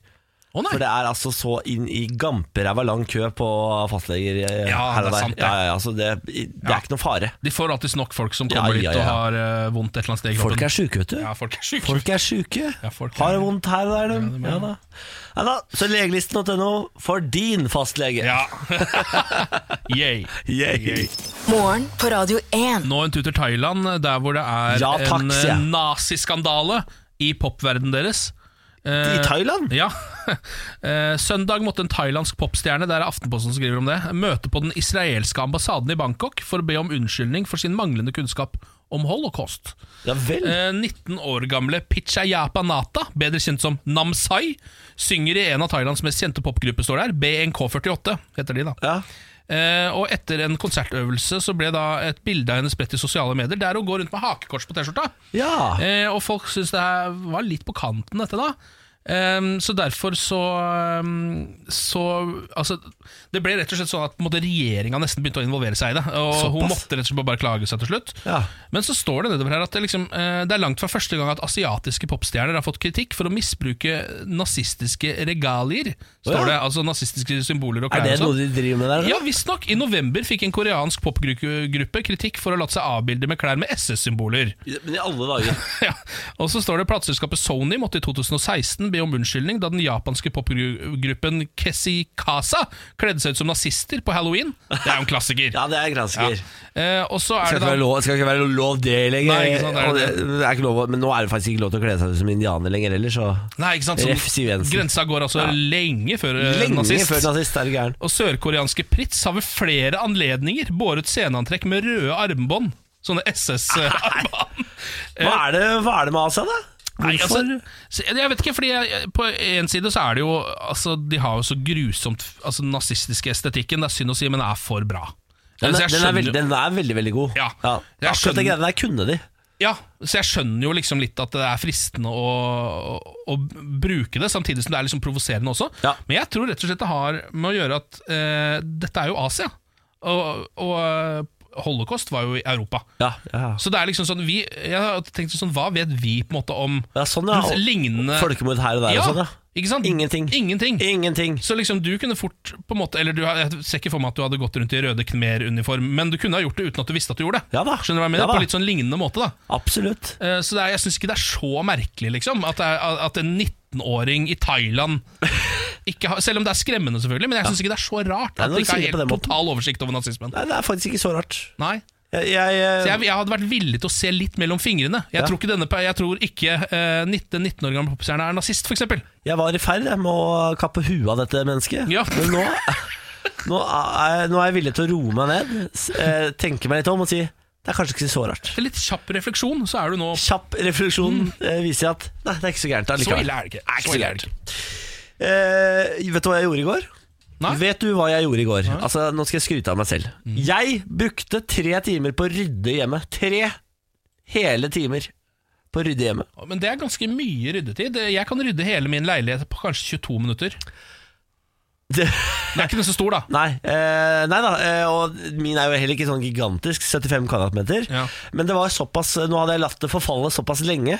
Speaker 2: Å
Speaker 1: For
Speaker 2: nei.
Speaker 1: det er altså så inn i gamperæva lang kø på fastleger eh,
Speaker 2: Ja,
Speaker 1: her
Speaker 2: det er
Speaker 1: og der.
Speaker 2: sant, det.
Speaker 1: ja, ja, ja, så det, det er ikke noen fare.
Speaker 2: De får alltids nok folk som kommer
Speaker 1: Ja, ja,
Speaker 2: dit og
Speaker 1: ja.
Speaker 2: har eh, vondt et eller annet sted i kroppen.
Speaker 1: Folk er sjuke, vet du.
Speaker 2: ja, folk er syke.
Speaker 1: Folk er sjuke.
Speaker 2: Ja, folk er-
Speaker 1: Har det vondt her og der, de. Ja, da. Ja, da. Så legelisten.no for din fastlege.
Speaker 2: Ja. Yay.
Speaker 1: Yay.
Speaker 3: Morgen på Radio 1.
Speaker 2: Nå en tur til Thailand, der hvor det er
Speaker 1: Ja, takk,
Speaker 2: en
Speaker 1: sier jeg.
Speaker 2: eh, naziskandale i popverdenen deres.
Speaker 1: I
Speaker 2: Eh,
Speaker 1: Thailand?
Speaker 2: Ja. Eh, Søndag måtte en thailandsk popstjerne det er Aftenposten som skriver om det, møte på den israelske ambassaden i Bangkok for å be om unnskyldning for sin manglende kunnskap om holocaust.
Speaker 1: Ja vel.
Speaker 2: Eh, 19 år gamle Pichayapa Nata, bedre kjent som Namsai, synger i en av Thailands mest kjente popgrupper, står der. BNK48 heter de, da.
Speaker 1: Ja.
Speaker 2: Eh, og etter en konsertøvelse så ble da et bilde av henne spredt i sosiale medier, der hun går rundt med hakekors på T-skjorta.
Speaker 1: ja.
Speaker 2: Eh, og folk syntes det her var litt på kanten, dette da. Ehm, så derfor så, ehm, så altså, Det ble rett og slett sånn at på en måte, regjeringa nesten begynte å involvere seg i det. Og hun
Speaker 1: Såpass.
Speaker 2: måtte rett og slett bare klage seg til slutt.
Speaker 1: Ja.
Speaker 2: Men så står det nedover her at det, liksom, eh, det er langt fra første gang at asiatiske popstjerner har fått kritikk for å misbruke nazistiske regalier. Står
Speaker 1: Å ja.
Speaker 2: det, altså Nazistiske symboler og klær.
Speaker 1: Er det
Speaker 2: og sånn.
Speaker 1: noe de driver med der? eller?
Speaker 2: Ja, visstnok. I november fikk en koreansk popgruppe kritikk for å ha latt seg avbilde med klær med SS-symboler.
Speaker 1: Men i alle dager.
Speaker 2: Ja. Og så står det plateselskapet Sony måtte i 2016 be om unnskyldning da den japanske popgruppen Kesikasa kledde seg ut som nazister på halloween. Det er jo en klassiker.
Speaker 1: Ja, det er gransker.
Speaker 2: Eh, og så er
Speaker 1: Skal
Speaker 2: det
Speaker 1: ikke, være
Speaker 2: da
Speaker 1: lov, skal ikke være lov det lenger.
Speaker 2: Nei, ikke sant, det er
Speaker 1: Og
Speaker 2: det.
Speaker 1: det er ikke lov, å- men nå er det faktisk ikke lov til å kle seg ut som indianer lenger heller, så
Speaker 2: Nei, ikke sant?
Speaker 1: Ref Siv
Speaker 2: Sånn,
Speaker 1: Jensen.
Speaker 2: grensa går altså
Speaker 1: Ja.
Speaker 2: lenge før eh,
Speaker 1: Lenge
Speaker 2: nazist.
Speaker 1: før nazist er du gæren.
Speaker 2: Og sørkoreanske Pritz har ved flere anledninger båret sceneantrekk med røde armbånd. Sånne SS-armbånd.
Speaker 1: Hva er det, hva er det med Asia, da? Hvorfor?
Speaker 2: Eh. Nei, altså, se- jeg vet ikke, fordi jeg, på en side så er det jo altså, De har jo så grusomt altså, den nazistiske estetikken. Det er synd å si, men det er for bra.
Speaker 1: den, er, den,
Speaker 2: Altså, jeg
Speaker 1: er
Speaker 2: skjønner-
Speaker 1: veldig, den er veldig, veldig god.
Speaker 2: Ja. Jeg
Speaker 1: Akkurat de
Speaker 2: skjønner-
Speaker 1: greiene der kunne de.
Speaker 2: Ja, så jeg skjønner jo liksom litt at det er fristende å, å, å bruke det, samtidig som det er liksom provoserende også.
Speaker 1: Ja.
Speaker 2: Men jeg tror rett og slett det har med å gjøre at eh, dette er jo Asia, og, og eh, holocaust var jo i Europa.
Speaker 1: Ja, ja.
Speaker 2: Så det er liksom sånn vi, Jeg har tenkt sånn, hva vet vi på en måte om
Speaker 1: Ja, sånn, ja.
Speaker 2: lignende
Speaker 1: Folkemord her og der
Speaker 2: ja,
Speaker 1: og sånn, ja.
Speaker 2: Ikke sant?
Speaker 1: Ingenting.
Speaker 2: Ingenting.
Speaker 1: Ingenting.
Speaker 2: Så liksom du kunne fort på en måte Eller du, har- jeg ser ikke for meg at du hadde gått rundt i røde khmer-uniform, men du kunne ha gjort det uten at du visste at du gjorde det.
Speaker 1: Ja da.
Speaker 2: Skjønner du hva jeg mener?
Speaker 1: Ja da.
Speaker 2: på litt sånn lignende måte, da.
Speaker 1: Absolutt.
Speaker 2: Eh, Så det er, jeg syns ikke det er så merkelig, liksom, at, det er, at en 19-åring i Thailand ikke har, Selv om det er skremmende, selvfølgelig, men jeg syns ikke det er så rart
Speaker 1: Nei,
Speaker 2: at
Speaker 1: når
Speaker 2: de
Speaker 1: du
Speaker 2: ikke
Speaker 1: sier det
Speaker 2: har
Speaker 1: på den
Speaker 2: helt
Speaker 1: måten.
Speaker 2: total oversikt over nazismen.
Speaker 1: Nei, det er faktisk ikke så rart.
Speaker 2: Nei.
Speaker 1: Jeg, jeg, eh,
Speaker 2: Så jeg, jeg hadde vært villig til å se litt mellom fingrene. Jeg tror ikke, denne, jeg tror ikke eh, 19, 19 år gamle popstjerne er nazist, f.eks.
Speaker 1: jeg var i ferd jeg, med å kappe huet av dette mennesket.
Speaker 2: Ja.
Speaker 1: Men nå, nå, er, jeg- nå er jeg villig til å roe meg ned, s- eh, tenke meg litt om og si det er kanskje ikke så rart.
Speaker 2: Litt kjapp refleksjon, så er du nå
Speaker 1: Kjapp refleksjon eh, viser at nei, det er ikke så gærent
Speaker 2: Mm. Så
Speaker 1: allikevel.
Speaker 2: ille er det
Speaker 1: Det
Speaker 2: ikke.
Speaker 1: er
Speaker 2: Så
Speaker 1: ikke så
Speaker 2: ille er det
Speaker 1: gærent.
Speaker 2: ikke.
Speaker 1: Eh, vet du hva jeg gjorde i går?
Speaker 2: Nei. Mm.
Speaker 1: Vet du hva jeg gjorde i går? Altså, Nå skal jeg skryte av meg selv. Jeg brukte tre timer på å rydde hjemme. Tre hele timer på å rydde hjemme.
Speaker 2: Men det er ganske mye ryddetid. Jeg kan rydde hele min leilighet på kanskje 22 minutter.
Speaker 1: Det,
Speaker 2: Den er ikke så stor, da.
Speaker 1: Nei, eh, nei da, eh, og min er jo heller ikke sånn gigantisk, 75 kvadratmeter.
Speaker 2: Ja.
Speaker 1: Men det var såpass, eh, nå hadde jeg latt det forfalle såpass lenge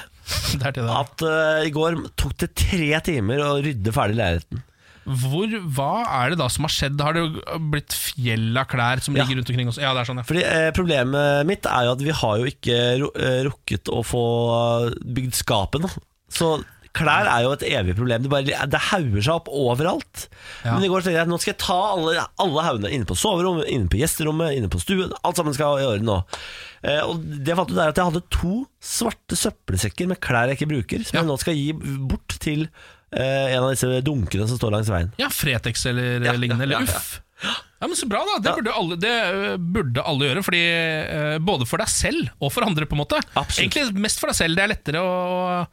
Speaker 2: Det er til det.
Speaker 1: at eh, i går tok det tre timer å rydde ferdig leiligheten.
Speaker 2: Hvor, hva er det da som har skjedd? Har det jo blitt fjell av klær som
Speaker 1: Ja.
Speaker 2: ligger rundt omkring oss? Ja, det er sånn, ja.
Speaker 1: Fordi eh, Problemet mitt er jo at vi har jo ikke ru- eh, rukket å få bygd skapene. Så klær er jo et evig problem. Det, bare, det hauger seg opp overalt.
Speaker 2: Ja.
Speaker 1: Men i går tenkte jeg at nå skal jeg ta alle, alle haugene inne på soverommet, inne på gjesterommet, inne på stuen. Alt sammen skal i orden nå. Eh, og det jeg fant ut er at jeg hadde to svarte søppelsekker med klær jeg ikke bruker, som jeg
Speaker 2: Ja.
Speaker 1: nå skal gi bort til eh, en av disse dunkene som står langs veien.
Speaker 2: ja Fretex eller eh,
Speaker 1: Ja,
Speaker 2: lignende,
Speaker 1: ja, ja,
Speaker 2: eller
Speaker 1: ja.
Speaker 2: Uff. Ja, men Så bra, da. Det burde alle, det øh, burde alle gjøre. Fordi, øh, både for deg selv og for andre, på en måte.
Speaker 1: Absolutt.
Speaker 2: Egentlig mest for deg selv. Det er lettere å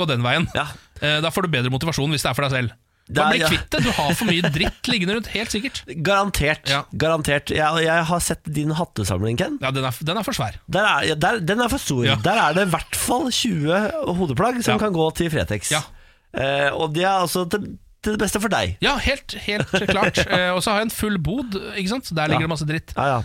Speaker 2: gå den veien.
Speaker 1: Ja.
Speaker 2: Eh, Da får du bedre motivasjon hvis det er for deg selv. Da
Speaker 1: Det er-
Speaker 2: blir
Speaker 1: ja.
Speaker 2: kvitt det. Du har for mye dritt liggende rundt. Helt sikkert.
Speaker 1: Garantert.
Speaker 2: Ja.
Speaker 1: garantert. Jeg, jeg har sett din hattesamling, Ken.
Speaker 2: Ja, Den er, den er for svær.
Speaker 1: Der er, ja, der, den er for stor.
Speaker 2: Ja.
Speaker 1: Der er det i hvert fall 20 hodeplagg som
Speaker 2: Ja.
Speaker 1: kan gå til Fretex.
Speaker 2: Ja.
Speaker 1: Eh, og det er altså til, til det beste for deg.
Speaker 2: Ja, helt, helt klart. Eh, Og så har jeg en full bod. Ikke sant? Der ligger det masse dritt.
Speaker 1: Ja, ja.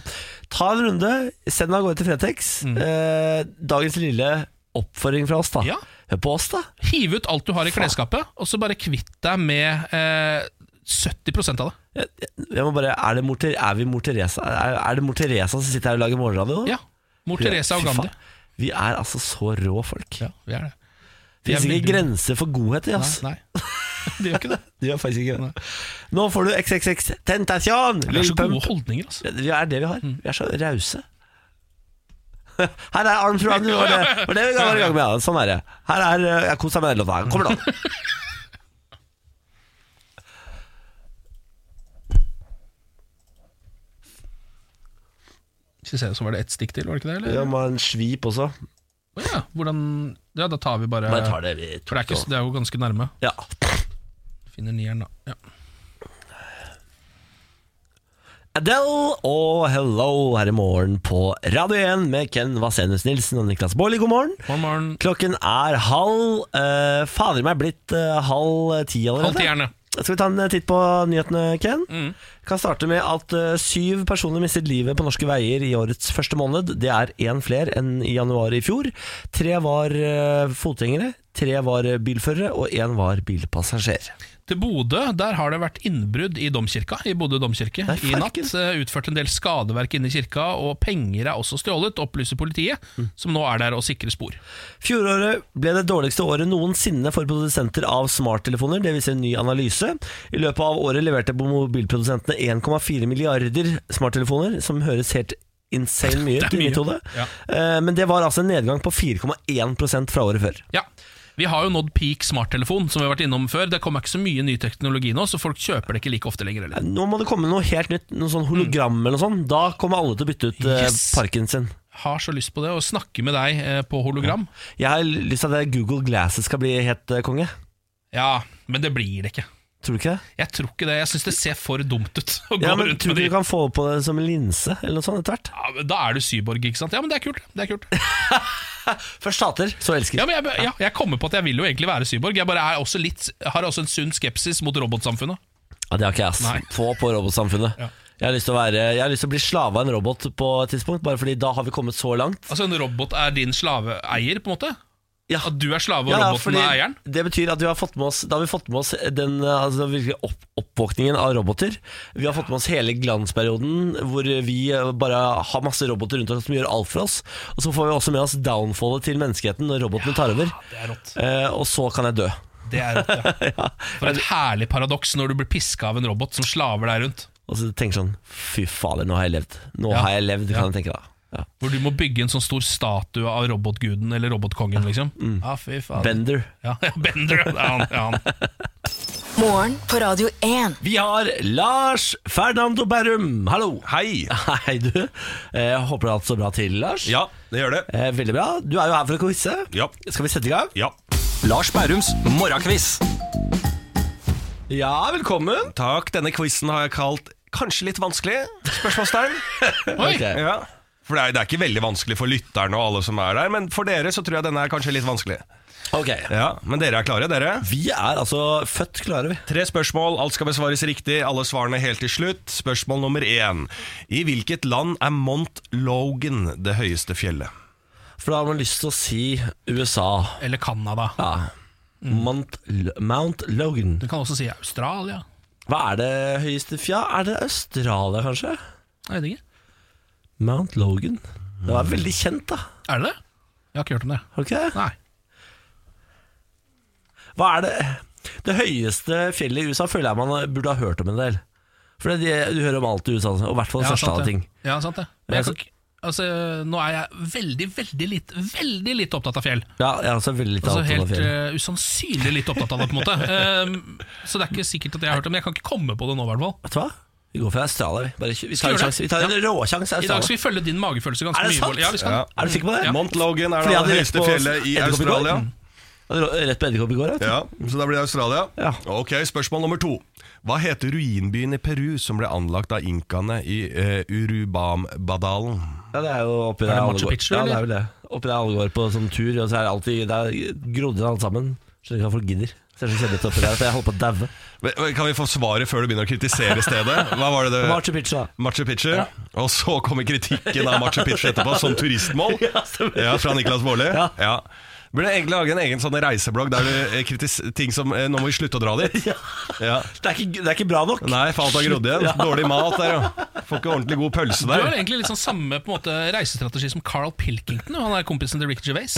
Speaker 1: Ta en runde, send deg av gårde til Fretex.
Speaker 2: Mhm.
Speaker 1: Eh, dagens lille oppfordring fra oss, da.
Speaker 2: Ja.
Speaker 1: Hør på oss, da.
Speaker 2: Hive ut alt du har i klesskapet, og så bare kvitt deg med eh, 70 av det.
Speaker 1: Jeg, jeg må bare, er, det mor, Ter- er vi mor Teresa er, er det mor Teresa som sitter her og lager morgenradio? nå?
Speaker 2: Ja. Mor Teresa og
Speaker 1: Fy
Speaker 2: Gandhi.
Speaker 1: faen. Vi er altså så rå folk.
Speaker 2: Ja, vi er det. Vi
Speaker 1: Det
Speaker 2: er
Speaker 1: finnes ikke
Speaker 2: veldig-
Speaker 1: grenser for godhet i oss.
Speaker 2: Nei, nei. Det gjør ikke det.
Speaker 1: Det gjør faktisk ikke det. Nå får du XXX Tentation!
Speaker 2: Vi har
Speaker 1: Lil
Speaker 2: så gode
Speaker 1: Pump.
Speaker 2: holdninger, altså.
Speaker 1: Vi er det vi har. Vi er så rause. Her er Arm through Arm, det var det, var det vi var i gang med. Ja. Sånn er det. Her er eh, Jeg koser meg med den låta. her. Kommer nå.
Speaker 2: Skal vi se, Så var det ett stikk til, var det ikke det? Eller?
Speaker 1: Vi må ha en svip også.
Speaker 2: Å ja, hvordan Ja, da tar vi bare
Speaker 1: Bare tar det vi
Speaker 2: For det er, ikke, det er jo ganske nærme.
Speaker 1: Ja.
Speaker 2: Finner nieren, da. Ja.
Speaker 1: Adele og Hello her i morgen på Radio 1 med Ken Vasenus Nilsen og Niklas Baarli. God morgen.
Speaker 2: Morgen, morgen.
Speaker 1: Klokken er halv eh, Fader meg blitt eh, halv ti allerede.
Speaker 2: Halv tieren, ja.
Speaker 1: Skal vi ta en eh, titt på nyhetene, Ken? Kan starte med at eh, syv personer mistet livet på norske veier i årets første måned. Det er én flere enn i januar i fjor. Tre var eh, fotgjengere, tre var eh, bilførere, og én var bilpassasjer.
Speaker 2: Til Bodø der har det vært innbrudd i domkirka I Bodø domkirke
Speaker 1: Nei,
Speaker 2: i natt.
Speaker 1: farken.
Speaker 2: eh, Utført en del skadeverk inne i kirka, og penger er også stjålet, opplyser politiet, som nå er der og sikrer spor.
Speaker 1: Fjoråret ble det dårligste året noensinne for produsenter av smarttelefoner, det viser en ny analyse. I løpet av året leverte mobilprodusentene 1,4 milliarder smarttelefoner, som høres helt insane mye
Speaker 2: Det
Speaker 1: ut
Speaker 2: er
Speaker 1: i
Speaker 2: mye.
Speaker 1: mitt hode.
Speaker 2: Ja.
Speaker 1: Eh, Men det var altså en nedgang på 4,1 fra året før.
Speaker 2: Ja. Vi har jo nådd peak smarttelefon, som vi har vært innom før. Det kommer ikke så mye ny teknologi nå, så folk kjøper det ikke like ofte lenger. Eller.
Speaker 1: Nå må det komme noe helt nytt, noe sånn hologram eller noe sånt. Da kommer alle til å bytte ut eh,
Speaker 2: Mm. Yes.
Speaker 1: parken sin.
Speaker 2: Har så lyst på det, å snakke med deg eh, på hologram.
Speaker 1: Jeg har lyst til at det Google Glasses skal bli helt eh, konge.
Speaker 2: Ja, men det blir det ikke.
Speaker 1: Tror du ikke det?
Speaker 2: Jeg tror ikke det. Jeg syns det ser for dumt ut å gå
Speaker 1: Ja, men
Speaker 2: rundt
Speaker 1: Tror
Speaker 2: med
Speaker 1: du
Speaker 2: de.
Speaker 1: ikke du kan få på det som en linse eller noe sånt etter hvert?
Speaker 2: Ja, men da er du cyborg, ikke sant? Ja, men det er kult. Det er kult.
Speaker 1: Først hater, så elsker.
Speaker 2: Ja, men jeg, ja, jeg kommer på at jeg vil jo egentlig være cyborg. Jeg bare er også litt, har også en sunn skepsis mot robotsamfunnet.
Speaker 1: Ja, det har ikke jeg.
Speaker 2: Nei.
Speaker 1: ass Få på robotsamfunnet.
Speaker 2: Ja.
Speaker 1: Jeg, har lyst til å være, jeg har lyst til å bli slave av en robot på et tidspunkt, bare fordi da har vi kommet så langt.
Speaker 2: Altså En robot er din slaveeier, på en måte?
Speaker 1: Ja.
Speaker 2: At du er slave, og
Speaker 1: Ja, ja,
Speaker 2: roboten
Speaker 1: fordi
Speaker 2: er eieren?
Speaker 1: Det betyr at vi har fått med oss, da har vi fått med oss den, eh, altså, den virkelige opp, oppvåkningen av roboter. Vi har fått med oss hele glansperioden hvor vi eh, bare har masse roboter rundt oss som gjør alt for oss. Og så får vi også med oss downfallet til menneskeheten når robotene tar over.
Speaker 2: Det er rått.
Speaker 1: Eh, og så kan jeg dø.
Speaker 2: Det er rått, ja. For et herlig paradoks når du blir piska av en robot som slaver deg rundt.
Speaker 1: Og så tenker jeg sånn Fy fader, nå har jeg levd. Nå
Speaker 2: Ja.
Speaker 1: har jeg levd, kan
Speaker 2: Ja.
Speaker 1: jeg tenke da. Ja.
Speaker 2: Hvor du må bygge en sånn stor statue av robotguden eller robotkongen, liksom.
Speaker 1: Mm.
Speaker 2: Ja, fy faen.
Speaker 1: Bender.
Speaker 2: Ja, ja, Bender, ja. Det er han. Det er han.
Speaker 3: Morgen på Radio 1.
Speaker 1: Vi har Lars Fernando Berrum. Hallo.
Speaker 5: Hei!
Speaker 1: Hei, du. Eh, Jeg håper det har hatt så bra til, Lars.
Speaker 5: Ja, det gjør det.
Speaker 1: Eh, Veldig bra. Du er jo her for å quize.
Speaker 5: Ja.
Speaker 1: Skal vi sette i gang?
Speaker 5: Ja.
Speaker 6: Lars Bærums morgenkviss.
Speaker 1: Ja, velkommen.
Speaker 5: Takk. Denne quizen har jeg kalt kanskje litt vanskelig? Spørsmålstegn.
Speaker 2: Oi!
Speaker 1: Ok.
Speaker 5: ja. For det er, det er ikke veldig vanskelig for lytterne og alle som er der, men for dere så tror jeg denne er kanskje litt vanskelig.
Speaker 1: Ok.
Speaker 5: Ja, Men dere er klare, dere?
Speaker 1: Vi er altså født klare, vi.
Speaker 5: Tre spørsmål, alt skal besvares riktig, alle svarene helt til slutt. Spørsmål nummer én. I hvilket land er Mont Logan det høyeste fjellet?
Speaker 1: For da har man lyst til å si USA.
Speaker 2: Eller Canada.
Speaker 1: Ja. Mount, L- Mount Logan.
Speaker 2: Du kan også si Australia.
Speaker 1: Hva er det høyeste fja? Er det Australia, kanskje?
Speaker 2: Jeg vet ikke.
Speaker 1: Mount Logan. Det var veldig kjent, da.
Speaker 2: Er det det? Jeg har ikke hørt om det.
Speaker 1: Har du ikke det?
Speaker 2: Nei.
Speaker 1: Hva er det Det høyeste fjellet i USA føler jeg man burde ha hørt om en del. For det, er det- du hører om alt i USA, altså. og i hvert fall det største av
Speaker 2: sant
Speaker 1: ting.
Speaker 2: det. Ja, sant det. Men jeg kan ikke Altså, nå er jeg veldig, veldig litt, veldig litt opptatt av fjell.
Speaker 1: Ja, jeg er også veldig litt
Speaker 2: Altså
Speaker 1: alt om
Speaker 2: Helt
Speaker 1: fjell.
Speaker 2: eh, usannsynlig litt opptatt av det, på en måte. Ehm, så det er ikke sikkert at jeg har hørt det, men jeg kan ikke komme på det nå, i hvert fall.
Speaker 1: Vet du hva? Vi går for Australia, vi. Bare, kjø- vi tar en
Speaker 2: gjøre det?
Speaker 1: sjanse. Vi tar en råsjanse.
Speaker 2: I dag
Speaker 1: Australia.
Speaker 2: skal vi følge din magefølelse
Speaker 1: Er
Speaker 2: ganske
Speaker 1: det
Speaker 2: mye.
Speaker 1: sant?
Speaker 2: Bård. Ja, vi skal.
Speaker 5: Ja.
Speaker 1: Er du sikker på det?
Speaker 2: Ja.
Speaker 5: Mont Logan er
Speaker 1: Fordi jeg
Speaker 5: da
Speaker 1: hadde
Speaker 5: det
Speaker 1: rett
Speaker 5: høyeste
Speaker 1: på
Speaker 5: fjellet i
Speaker 1: edderkopp i går.
Speaker 5: Australia.
Speaker 1: Jeg hadde rå- Rett på edderkopp i går, vet du.
Speaker 5: Ja, Så da blir det Australia.
Speaker 1: Ja.
Speaker 5: Ok, Spørsmål nummer to. Hva heter ruinbyen i Peru som ble anlagt av inkaene i eh, Urubambadalen?
Speaker 1: Ja, det er jo oppi
Speaker 2: det
Speaker 1: der alle
Speaker 2: Machu
Speaker 1: går
Speaker 2: Picchu,
Speaker 1: Ja, det er
Speaker 2: eller?
Speaker 1: vel det Oppi der alle går på sånn tur Og så er det alltid Det er grodd inn alt sammen Skjønner ikke hva folk gidder Ser så kjedelig ut oppi der For jeg holder på å daue
Speaker 5: Men- Kan vi få svaret før du begynner å kritisere stedet? Hva var det det
Speaker 1: Machu Picchu da
Speaker 5: Machu Picchu? Og så kommer kritikken av Machu Picchu etterpå, som turistmål. Ja, Fra Niklas Baarli.
Speaker 1: Ja.
Speaker 5: Ja. Burde egentlig lage en egen sånn reiseblogg der du eh, kritis ting som eh, Nå må vi slutte å dra dit. Ja.
Speaker 1: det er, ikke, det er ikke bra nok
Speaker 5: Nei, for alt har grodd igjen. Dårlig mat der, jo. Får ikke ordentlig god pølse
Speaker 2: Du har
Speaker 5: der.
Speaker 2: egentlig litt sånn samme på en måte, reisestrategi som Carl Pilkington. Han er kompisen til Rick Gervais.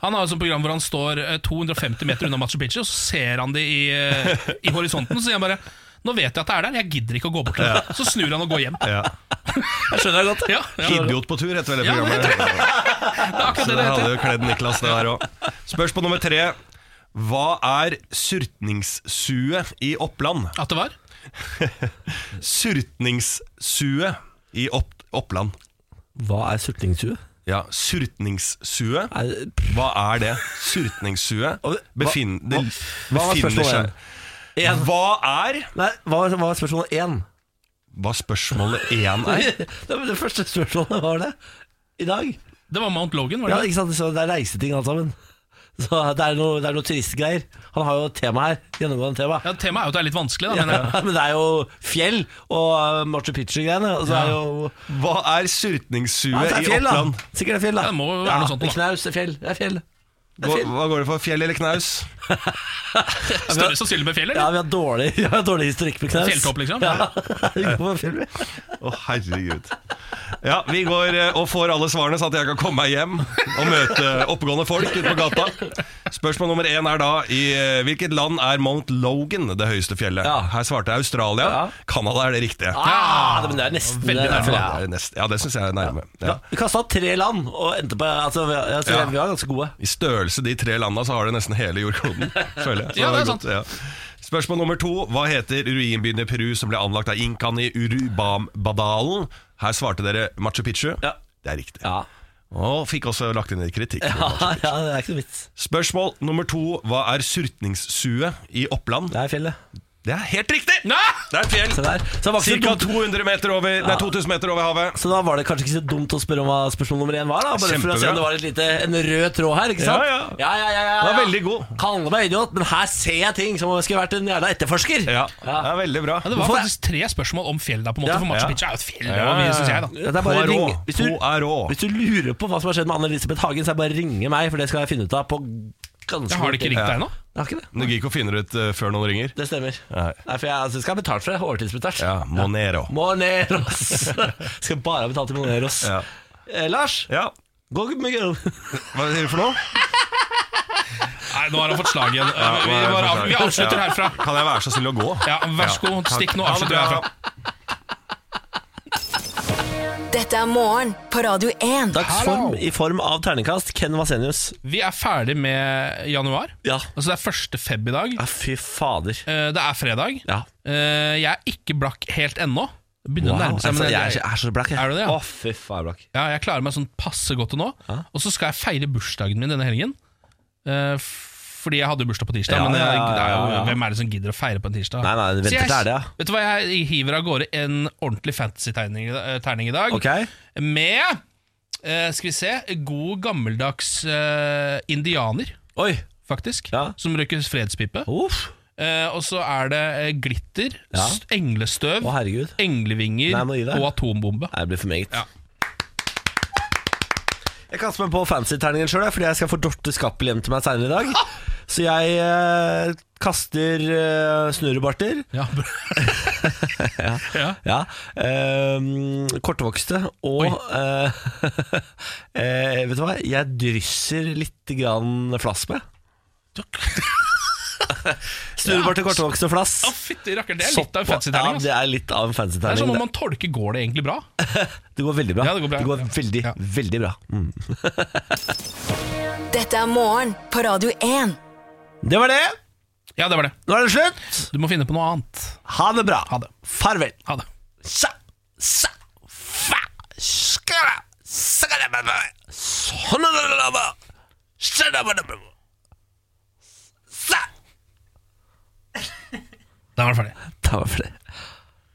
Speaker 2: Han har et sånt program hvor han står eh, 250 meter unna Machu Picchu, og så ser han det i, eh, i horisonten. Så sier han bare Nå vet jeg at det er der, jeg gidder ikke å gå bort til det. Så snur han og går hjem.
Speaker 5: Ja.
Speaker 1: Jeg skjønner det godt
Speaker 2: Ja, ja.
Speaker 5: Idiot på tur heter vel det
Speaker 2: Ja, det
Speaker 5: programmet.
Speaker 2: Det er akkurat
Speaker 5: Så
Speaker 2: det
Speaker 5: det
Speaker 2: det
Speaker 5: hadde
Speaker 2: heter.
Speaker 5: jo kledd Niklas, det der òg. Spørsmål nummer tre. Hva er surtningssue i Oppland?
Speaker 2: At det var?
Speaker 5: Surtningssue i opp Oppland.
Speaker 1: Hva er sultingstue?
Speaker 5: Ja, surtningssue.
Speaker 1: Er det- pff,
Speaker 5: Hva er det? Surtningssue
Speaker 1: Og-
Speaker 5: Befinn,
Speaker 1: hva-
Speaker 5: det
Speaker 1: hva var
Speaker 5: befinner
Speaker 1: spørsmålet
Speaker 5: seg
Speaker 1: igjen?
Speaker 5: Hva er
Speaker 1: Nei, hva var, hva var spørsmålet 1?
Speaker 5: Hva spørsmålet én er?
Speaker 1: Nei det, var det første spørsmålet var det I dag
Speaker 2: Det var Mount Logan, var
Speaker 1: Ja,
Speaker 2: det?
Speaker 1: ikke sant? Så det er reiseting alt sammen Så det er noe, det er noe turistgreier Han har jo et tema her Gjennomgående tema
Speaker 2: Ja, Temaet er jo at det er litt vanskelig, da.
Speaker 1: Ja,
Speaker 2: Men eh, jeg.
Speaker 1: men det er jo fjell og eh, Machu Picchu-greiene. Og så er jo
Speaker 5: Hva er surtningssue
Speaker 1: ja, det
Speaker 5: i
Speaker 1: er fjell,
Speaker 5: Oppland?
Speaker 1: da. Sikkert det er fjell, da.
Speaker 2: Ja, det må jo være noe sånt, da.
Speaker 1: Knaus det er fjell. Det er fjell.
Speaker 5: Hva, hva går det for? Fjell eller knaus?
Speaker 2: Større sannsynlig med fjell,
Speaker 1: Ja,
Speaker 2: eller?
Speaker 1: vi har dårlig, vi har dårlig historikk med Knaus.
Speaker 2: Fjelltopp, liksom?
Speaker 1: Ja, vi går på fjell, vi.
Speaker 5: Å, herregud. Ja, vi går eh, og får alle svarene, sånn at jeg kan komme meg hjem og møte oppegående folk ute på gata. Spørsmål nummer én er da i eh, hvilket land er Mount Logan det høyeste fjellet?
Speaker 1: Ja.
Speaker 5: Her svarte jeg Australia.
Speaker 1: Ja.
Speaker 5: Canada er det riktige.
Speaker 1: Ah, det- men det er nesten det
Speaker 2: veldig
Speaker 1: er
Speaker 2: nærme,
Speaker 1: fjell,
Speaker 5: Ja,
Speaker 1: ja.
Speaker 5: det er nest- ja, det syns jeg er nærme.
Speaker 1: Ja,
Speaker 5: Ja.
Speaker 1: vi kasta tre land og endte på altså, vi, altså,
Speaker 5: Ja.
Speaker 1: vi var ganske gode.
Speaker 5: I størrelse de tre landa så har det nesten hele jordkloden, føler jeg. Så
Speaker 2: Ja, det er
Speaker 5: godt,
Speaker 2: sant.
Speaker 5: ja. Spørsmål nummer to. Hva heter ruinbyen i Peru som ble anlagt av inkaen i Urubambadalen? Her svarte dere Machu Picchu.
Speaker 1: Ja.
Speaker 5: Det er riktig.
Speaker 1: Ja.
Speaker 5: Og fikk også lagt inn litt kritikk.
Speaker 1: Ja, ja, det er ikke noe vits.
Speaker 5: Spørsmål nummer to. Hva er surtningssue i Oppland?
Speaker 1: Det er fjellet.
Speaker 5: Det er helt riktig! Det er et fjell.
Speaker 1: Se der. Så det var ikke så
Speaker 5: Cirka
Speaker 1: dumt.
Speaker 5: 200 meter over, nei, 2000 meter over havet.
Speaker 1: Så da var det kanskje ikke så dumt å spørre om hva spørsmål nummer én var? da Bare for å se om
Speaker 5: Kjempebra.
Speaker 1: det var et lite, en rød tråd her, ikke sant?
Speaker 5: Ja, ja.
Speaker 1: ja, ja, ja, ja, ja.
Speaker 5: Den er veldig god.
Speaker 1: Kalle meg idiot, men her ser jeg ting som om jeg skulle vært en jævla etterforsker.
Speaker 5: Ja, det er veldig bra.
Speaker 2: Ja, det var
Speaker 1: Hvorfor-
Speaker 2: faktisk tre spørsmål om fjell der, på en måte.
Speaker 1: Ja,
Speaker 2: for Machu
Speaker 5: ja.
Speaker 2: Picchu er jo et fjell.
Speaker 5: Ja,
Speaker 2: og mye,
Speaker 5: ja,
Speaker 2: synes jeg,
Speaker 5: ja.
Speaker 2: da.
Speaker 1: Ja, det er bare
Speaker 5: Poirot.
Speaker 1: ring. Hvis, du,
Speaker 5: Poirot.
Speaker 1: hvis du lurer på hva som har skjedd med Anne-Elisabeth Hagen, så er det bare å ringe meg, for det skal jeg finne ut av på ganske
Speaker 2: Jeg har det ikke ringt
Speaker 5: Ja.
Speaker 2: deg ennå.
Speaker 1: Jeg har ikke det.
Speaker 5: Du gidder ikke å finne det ut eh, før noen ringer?
Speaker 1: Det stemmer.
Speaker 5: Nei.
Speaker 1: Nei, for jeg altså, skal ha betalt for det. Overtidsbetalt.
Speaker 5: Ja, Monero.
Speaker 1: Moneros! skal bare ha betalt til Moneros.
Speaker 5: Ja.
Speaker 1: Eh, Lars,
Speaker 5: Ja.
Speaker 1: gå med girl.
Speaker 5: Hva sier du for noe?
Speaker 2: Nei, nå har han fått slag igjen.
Speaker 5: Ja,
Speaker 2: vi,
Speaker 5: hva er det
Speaker 2: bare,
Speaker 5: for slag?
Speaker 2: vi avslutter
Speaker 5: Ja.
Speaker 2: herfra.
Speaker 5: Kan jeg være så snill å gå?
Speaker 2: Ja, Vær så god, stikk nå.
Speaker 5: Ha det
Speaker 2: Avslutter vi
Speaker 5: bra.
Speaker 2: herfra.
Speaker 3: Dette er morgen på Radio 1.
Speaker 1: Dagsform i form av terningkast. Ken Vasenius.
Speaker 2: Vi er ferdig med januar.
Speaker 1: Ja.
Speaker 2: Altså Det er første feb i dag.
Speaker 1: ja, fy fader.
Speaker 2: Eh, Det er fredag.
Speaker 1: Ja.
Speaker 2: Eh, Jeg er ikke blakk helt ennå. Det Begynner å
Speaker 1: Wow,
Speaker 2: nærme seg.
Speaker 1: altså,
Speaker 2: Men
Speaker 1: jeg, er,
Speaker 2: jeg,
Speaker 1: så- jeg er så blakk, jeg.
Speaker 2: Er du det, ja?
Speaker 1: Å, fy faen, jeg er blakk.
Speaker 2: ja, jeg klarer meg sånn passe godt til nå. Og så skal jeg feire bursdagen min denne helgen. Eh, f- Fordi jeg hadde jo bursdag på tirsdag,
Speaker 1: Ja,
Speaker 2: men jeg,
Speaker 1: ja, ja,
Speaker 2: det er jo,
Speaker 1: ja, ja.
Speaker 2: hvem er det som gidder å feire på en tirsdag?
Speaker 1: Nei, nei, det
Speaker 2: Så
Speaker 1: venter
Speaker 2: jeg,
Speaker 1: til helga.
Speaker 2: Vet du hva, jeg hiver av gårde en ordentlig fantasy-terning eh, terning i dag.
Speaker 1: Ok?
Speaker 2: Med eh, Skal vi se God gammeldags eh, indianer,
Speaker 1: Oi.
Speaker 2: faktisk.
Speaker 1: Ja.
Speaker 2: Som røyker fredspipe.
Speaker 1: Uff.
Speaker 2: Eh, og så er det eh, glitter,
Speaker 1: Ja.
Speaker 2: s- englestøv,
Speaker 1: Å, herregud. Nei,
Speaker 2: englevinger
Speaker 1: jeg må gi deg.
Speaker 2: og atombombe.
Speaker 1: Nei, det blir for meget.
Speaker 2: Ja.
Speaker 1: Jeg kaster meg på fancy-terningen sjøl, fordi jeg skal få Dorte Skappel hjem til meg seinere i dag. Så jeg eh, kaster eh, snurrebarter.
Speaker 2: Ja. ja.
Speaker 1: Ja. ehm, kortvokste og eh, eh, Vet du hva? Jeg drysser litt grann flass med. Snurrebarter, kortvokste og flass.
Speaker 2: Å, fytti rakker, det er litt av en fancy
Speaker 1: ja,
Speaker 2: terning. ass.
Speaker 1: det er litt av en
Speaker 2: Det er som
Speaker 1: fancy-terning.
Speaker 2: om
Speaker 1: Det,
Speaker 2: man tolker går det egentlig bra.
Speaker 1: det går veldig bra.
Speaker 2: Ja, det går bra. Ja.
Speaker 1: veldig,
Speaker 2: Ja.
Speaker 1: veldig bra. Mm.
Speaker 3: Dette er morgen på Radio 1.
Speaker 1: Det var det.
Speaker 2: Ja, det var det.
Speaker 1: Nå er det slutt.
Speaker 2: Du må finne på noe annet.
Speaker 1: Ha det bra.
Speaker 2: Ha det.
Speaker 1: Farvel.
Speaker 2: Ha det.
Speaker 1: Sa, sa, fa, skala, skala, ba, ba, sånn, la, la, la, ba, skala, ba, da, ba, ba. Sa.
Speaker 2: Da var det ferdig.
Speaker 1: Da var det.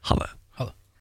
Speaker 1: Ha det.